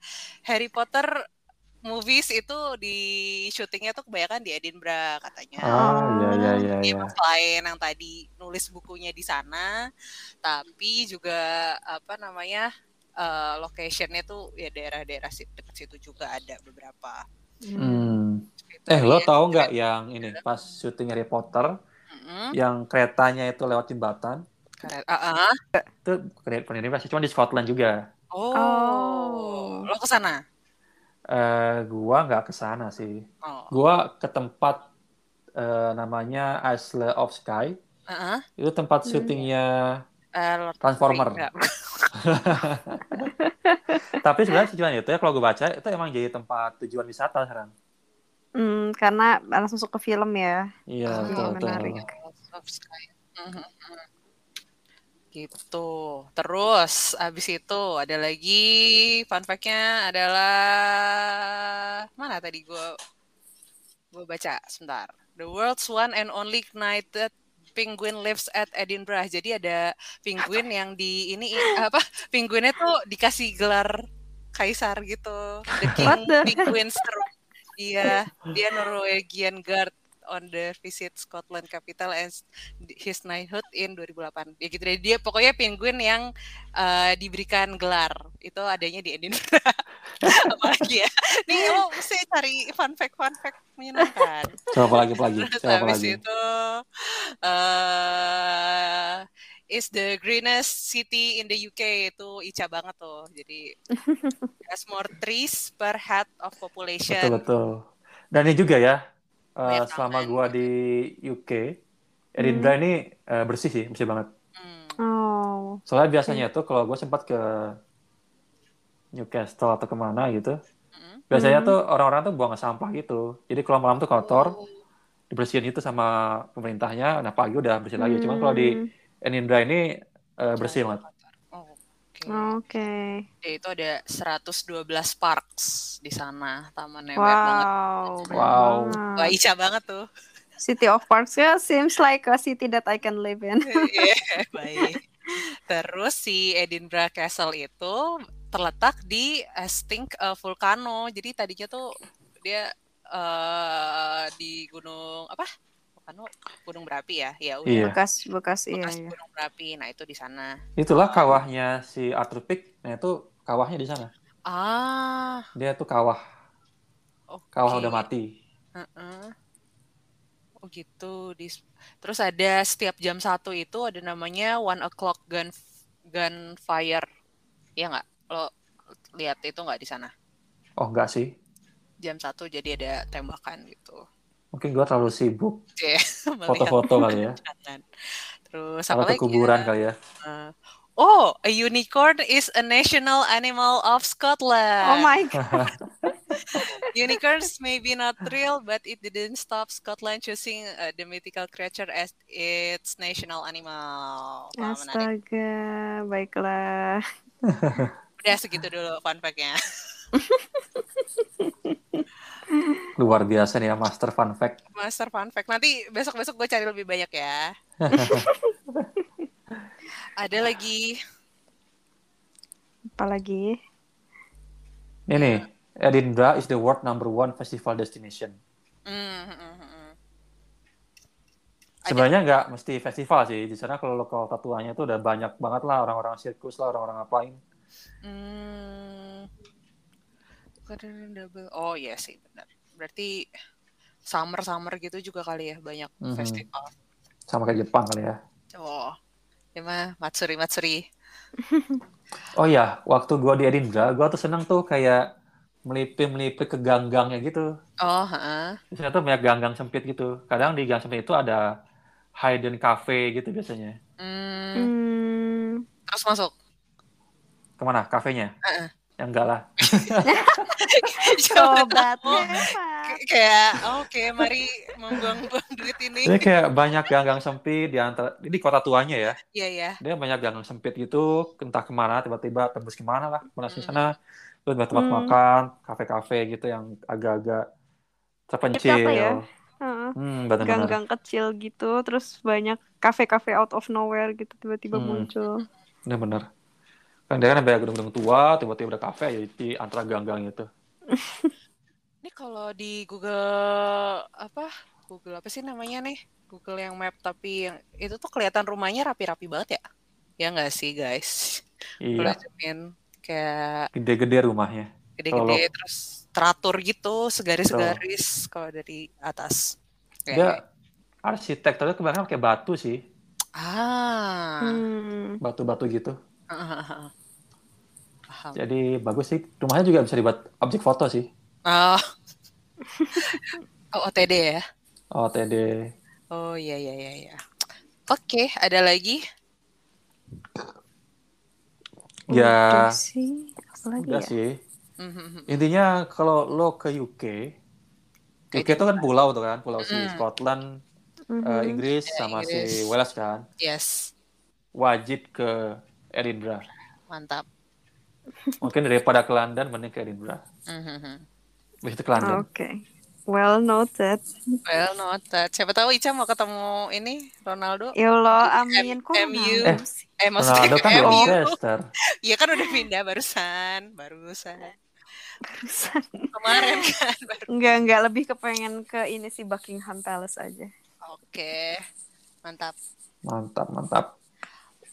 Speaker 2: Harry Potter movies itu di syutingnya tuh kebanyakan di Edinburgh katanya.
Speaker 3: Ah, ya ya ya
Speaker 2: Dia
Speaker 3: ya.
Speaker 2: selain yang tadi nulis bukunya di sana, tapi juga apa namanya eh, locationnya tuh ya daerah-daerah si- dekat situ juga ada beberapa.
Speaker 3: Hmm.
Speaker 2: Gitu
Speaker 3: Eh, lo
Speaker 2: ya.
Speaker 3: tau nggak yang ini pas syuting Harry Potter
Speaker 2: Mm-mm.
Speaker 3: yang keretanya itu lewat jembatan?
Speaker 2: Keren. Ah, ah, ah.
Speaker 3: Itu kereta universitas cuma di Scotland juga.
Speaker 2: Oh.
Speaker 1: Oh.
Speaker 2: Lo ke sana?
Speaker 3: Eh, gua nggak ke sana sih.
Speaker 2: Oh.
Speaker 3: Gua ke tempat eh, namanya Isle of Sky.
Speaker 2: Ah, ah.
Speaker 3: Itu tempat
Speaker 1: Hmm.
Speaker 3: syutingnya
Speaker 2: Eh, Lord
Speaker 3: Transformer.
Speaker 2: Enggak.
Speaker 3: Tapi sebenarnya tujuan itu ya kalau gue baca itu emang jadi tempat tujuan wisata sekarang.
Speaker 1: Hmm, karena langsung masuk ke film ya.
Speaker 3: Iya,
Speaker 2: Ah,
Speaker 3: betul, betul.
Speaker 1: menarik.
Speaker 2: Mhm, gitu terus abis itu ada lagi fun fact-nya adalah mana tadi gua gua baca sebentar the world's one and only knighted penguin lives at Edinburgh jadi ada penguin yang di ini apa penguinnya tuh dikasih gelar kaisar gitu the king
Speaker 1: What the-
Speaker 2: penguins iya dia Norwegian guard on the visit Scotland capital and his knighthood in 2008. Ya gitu deh. Dia pokoknya penguin yang eh, diberikan gelar. Itu adanya di Edinburgh. Apalagi ya.
Speaker 3: Eh.
Speaker 2: Nih lo mesti cari fun fact fun fact menyenangkan.
Speaker 3: Coba apa lagi, apa lagi,
Speaker 2: Terus
Speaker 3: coba apa
Speaker 2: habis
Speaker 3: lagi.
Speaker 2: itu eh is the greenest city in the UK itu Ica banget tuh. Jadi has more trees per head of population.
Speaker 3: Betul, betul. Dan ini juga ya, eh,
Speaker 2: Banyak Hmm.
Speaker 3: selama
Speaker 2: taman.
Speaker 3: gue di UK, Edinburgh ini eh, bersih sih, bersih banget.
Speaker 2: Hmm.
Speaker 1: Oh.
Speaker 3: Soalnya biasanya tuh kalau gue sempat ke Newcastle atau kemana gitu,
Speaker 2: Mm-mm.
Speaker 3: biasanya
Speaker 1: Hmm.
Speaker 3: tuh orang-orang tuh buang sampah gitu. Jadi kalau malam tuh
Speaker 2: Oh.
Speaker 3: kotor, dibersihin itu sama pemerintahnya, nah pagi udah bersih lagi. Cuma kalau di
Speaker 1: Hmm.
Speaker 3: Edinburgh ini eh, bersih banget.
Speaker 2: Oh, Oke.
Speaker 1: Hmm, Oke.
Speaker 2: Ya, itu ada 112 parks di sana tamannya banyak banget.
Speaker 1: Wow. banyak
Speaker 3: Wow.
Speaker 1: banget.
Speaker 2: Wah, Ica banget tuh.
Speaker 1: City of Parks ya seems like a city that I can live in.
Speaker 2: Iya, Baik. Terus si Edinburgh Castle itu terletak di Esting Vulcano. Jadi tadinya tuh dia eh, di gunung apa? Vulcano, gunung berapi ya. Ya udah.
Speaker 3: Iya.
Speaker 1: Bekas bekas iya
Speaker 2: Bekas
Speaker 1: iya.
Speaker 2: gunung berapi. Nah, itu di sana.
Speaker 3: Itulah kawahnya si Arthur Peak. Nah itu kawahnya di sana.
Speaker 2: Ah,
Speaker 3: Dia tuh kawah,
Speaker 2: oke.
Speaker 3: kawah udah mati.
Speaker 2: Heeh. Oh gitu. Di... Terus ada setiap jam satu itu ada namanya one o'clock gun gunfire. Iya nggak? Lo lihat itu nggak di sana?
Speaker 3: Oh enggak sih,
Speaker 2: Jam satu jadi ada tembakan gitu.
Speaker 3: mungkin gua terlalu sibuk
Speaker 2: Melihat
Speaker 3: foto-foto kali ya,
Speaker 2: pemandangan. Terus apa
Speaker 3: atau ke
Speaker 2: lagi?
Speaker 3: kuburan
Speaker 2: ya?
Speaker 3: kali ya.
Speaker 2: Eh, Oh, a unicorn is a national animal of Scotland.
Speaker 1: Oh my god.
Speaker 2: Unicorns may be not real, but it didn't stop Scotland choosing uh, the mythical creature as its national animal. Wah, menarik.
Speaker 1: Astaga, baiklah.
Speaker 2: Udah segitu dulu fun fact-nya.
Speaker 3: Luar biasa nih ya, master fun fact.
Speaker 2: Master fun fact. Nanti besok-besok gue cari lebih banyak ya. Ada lagi.
Speaker 1: Apalagi
Speaker 3: Ini nih, Edinburgh is the world number one festival destination.
Speaker 2: Hmm, hmm, hmm, hmm. Ada.
Speaker 3: Sebenarnya nggak mesti festival sih. Di sana kalau lo ke kota tuanya tuh udah banyak banget lah orang-orang sirkus lah, orang-orang apain.
Speaker 2: Hmm. Kadang double. Oh iya sih benar. Berarti summer-summer gitu juga kali ya banyak
Speaker 3: Mhm.
Speaker 2: festival.
Speaker 3: Sama kayak Jepang kali ya.
Speaker 2: Oh. Ya mah matsuri matsuri.
Speaker 3: Oh iya, waktu gua di Edinburgh, gua tuh seneng tuh kayak melipir-melipir ke gang-gangnya gitu.
Speaker 2: Oh, heeh.
Speaker 3: Di sana tuh banyak gang-gang sempit gitu. Kadang di gang sempit itu ada hidden cafe gitu biasanya.
Speaker 2: Hmm,
Speaker 1: hmm,
Speaker 2: terus masuk.
Speaker 3: Kemana? Kafenya?
Speaker 2: Heeh.
Speaker 3: Ya enggak lah.
Speaker 1: sobatnya Pak.
Speaker 2: kayak oke mari membuang-buang duit ini.
Speaker 3: Jadi kayak banyak ganggang sempit di antara ini di kota tuanya ya.
Speaker 2: Iya ya.
Speaker 3: Dia banyak ganggang sempit gitu, entah kemana tiba-tiba tembus kemana lah, mana di sana. Terus banyak tempat
Speaker 1: Hmm.
Speaker 3: makan, kafe-kafe gitu yang agak-agak terpencil.
Speaker 1: Tercapai ya. Heeh.
Speaker 3: Hmm, benar-benar.
Speaker 1: gang-gang kecil gitu terus banyak kafe-kafe out of nowhere gitu tiba-tiba
Speaker 3: Hmm.
Speaker 1: muncul
Speaker 3: Benar-benar. Kan dia kan banyak gedung-gedung tua, tiba-tiba ada kafe ya di antara gang-gang itu.
Speaker 2: Ini kalau di Google apa? Google apa sih namanya nih? Google yang map tapi yang itu tuh kelihatan rumahnya rapi-rapi banget ya. Ya nggak sih guys? Kalau
Speaker 3: Iya,
Speaker 2: zoom in, kayak
Speaker 3: gede-gede rumahnya.
Speaker 2: gede-gede terus teratur gitu, segaris-segaris kalau dari atas. Kayak-
Speaker 3: Dia arsitekturnya kebanyakan pakai batu sih,
Speaker 2: Ah.
Speaker 1: Hmm.
Speaker 3: batu-batu gitu.
Speaker 2: Ah.
Speaker 1: Oh.
Speaker 2: Paham.
Speaker 3: Jadi bagus sih. Rumahnya juga bisa dibuat objek foto sih.
Speaker 2: Ah. Oh, OTD ya?
Speaker 3: OTD.
Speaker 2: Oh iya iya iya iya. Oke, ada lagi?
Speaker 3: Ya,
Speaker 1: Udah sih apa lagi
Speaker 3: enggak
Speaker 1: ya?
Speaker 3: sih.
Speaker 2: Mhm.
Speaker 3: Intinya kalau lo ke UK, UK itu kan pulau tuh kan, pulau si
Speaker 2: Mm.
Speaker 3: Scotland,
Speaker 1: Mhm.
Speaker 3: eh, Inggris
Speaker 2: Ya,
Speaker 3: sama si
Speaker 2: Inggris.
Speaker 3: Wales kan,
Speaker 2: Yes,
Speaker 3: wajib ke Edinburgh.
Speaker 2: mantap.
Speaker 3: Mungkin daripada ke London mending ke Edinburgh.
Speaker 2: Mhm.
Speaker 3: Habis itu ke London.
Speaker 2: Oh,
Speaker 1: oke well noted
Speaker 2: Well noted. Siapa tahu Ica mau ketemu ini Ronaldo?
Speaker 1: ya Allah amin kok
Speaker 2: M- MU.
Speaker 1: kenal?
Speaker 2: Eh maksudnya
Speaker 3: Ronaldo
Speaker 2: ke
Speaker 3: kan di
Speaker 2: MU.
Speaker 3: Manchester.
Speaker 2: Iya kan udah pindah barusan, barusan.
Speaker 1: Barusan.
Speaker 2: Kemarin kan baru.
Speaker 1: Enggak, enggak lebih kepengen ke ini sih Buckingham Palace aja.
Speaker 2: Oke. Mantap.
Speaker 3: Mantap, mantap.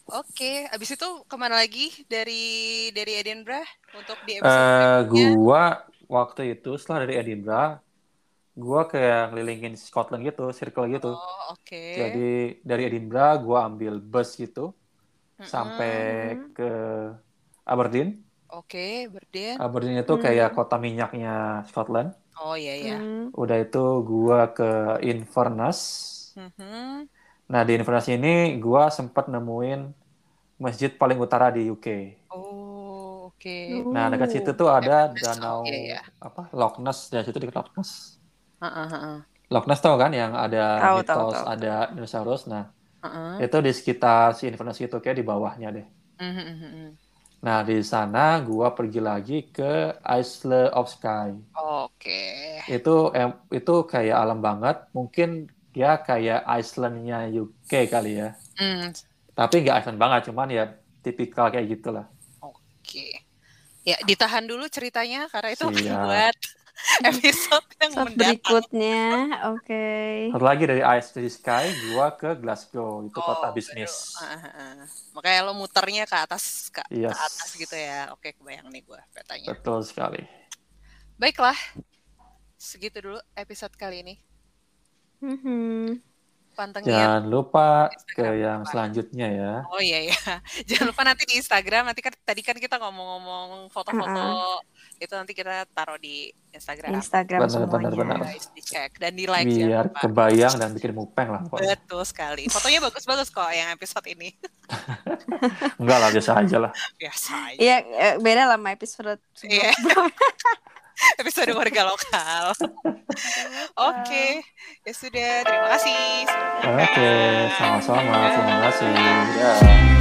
Speaker 2: Oke, abis itu kemana lagi dari dari Edinburgh untuk di
Speaker 3: Eh,
Speaker 2: episode berikutnya?
Speaker 3: gua waktu itu setelah dari Edinburgh, gua kayak ngelilingin Scotland gitu, circle gitu.
Speaker 2: Oh, oke.
Speaker 3: Jadi dari Edinburgh gua ambil bus gitu
Speaker 2: Mm-mm.
Speaker 3: sampai ke Aberdeen.
Speaker 2: Oke, Berden.
Speaker 3: Aberdeen itu
Speaker 1: Hmm.
Speaker 3: kayak kota minyaknya Scotland.
Speaker 2: Oh iya iya.
Speaker 1: Hmm.
Speaker 3: Udah itu gua ke Inverness.
Speaker 2: Mhm.
Speaker 3: Nah, di Inverness ini gua sempat nemuin masjid paling utara di UK.
Speaker 2: Oh, oke.
Speaker 3: Nah, dekat situ
Speaker 1: Uh.
Speaker 3: tuh ada
Speaker 2: Inverness, oh,
Speaker 3: danau
Speaker 2: iya, iya.
Speaker 3: apa? Loch Ness, dari situ dekat Loch Ness.
Speaker 2: Heeh, heeh,
Speaker 3: Loch Ness tau kan yang ada
Speaker 1: Tahu,
Speaker 3: mitos,
Speaker 1: tahu, tahu.
Speaker 3: ada dinosaurus. Nah,
Speaker 2: heeh.
Speaker 3: itu di sekitar si Inverness itu kayak di bawahnya deh.
Speaker 2: Mhm, mhm, mhm.
Speaker 3: Nah, di sana gua pergi lagi ke Isle of Skye.
Speaker 2: Oke.
Speaker 3: Itu em, itu kayak alam banget. Mungkin dia kayak Icelandnya UK kali ya.
Speaker 2: Hmm,
Speaker 3: Tapi nggak Iceland banget, cuman ya tipikal kayak gitulah.
Speaker 2: Oke. Ya, ditahan dulu ceritanya karena itu akan
Speaker 3: Siap.
Speaker 2: buat episode yang
Speaker 1: Saat
Speaker 2: mendatang.
Speaker 1: berikutnya, oke.
Speaker 3: Satu lagi dari Ice to the Sky, gua ke Glasgow, itu
Speaker 2: Oh,
Speaker 3: kota
Speaker 2: baru.
Speaker 3: bisnis.
Speaker 2: Heeh, heeh. ah. Makanya lo muternya ke atas ke, ke
Speaker 3: Yes.
Speaker 2: atas gitu ya. Oke, kebayang nih gue petanya.
Speaker 3: Betul sekali.
Speaker 2: Baiklah. Segitu dulu episode kali ini.
Speaker 1: Mhm.
Speaker 2: Pantengin.
Speaker 3: Jangan lupa ke
Speaker 2: Instagram
Speaker 3: yang
Speaker 2: apa?
Speaker 3: selanjutnya ya.
Speaker 2: Oh iya ya. Jangan lupa nanti di Instagram. Nanti kan tadi kan kita ngomong-ngomong foto-foto itu nanti kita taruh di Instagram.
Speaker 1: Instagram
Speaker 3: Benar,
Speaker 1: semuanya.
Speaker 3: benar, benar.
Speaker 2: Guys, dicek dan di like ya,
Speaker 3: Biar
Speaker 2: jangan lupa.
Speaker 3: kebayang dan bikin mupeng lah. pokoknya.
Speaker 2: Betul sekali. Fotonya bagus-bagus kok yang episode ini.
Speaker 3: Enggak lah, biasa aja lah.
Speaker 2: Biasa aja.
Speaker 1: Iya, eh, beda lah sama episode
Speaker 2: Iya. episode warga lokal. Oke. Ya sudah. Terima kasih. Iya.
Speaker 3: Oke, sama-sama. Terima kasih. Ya.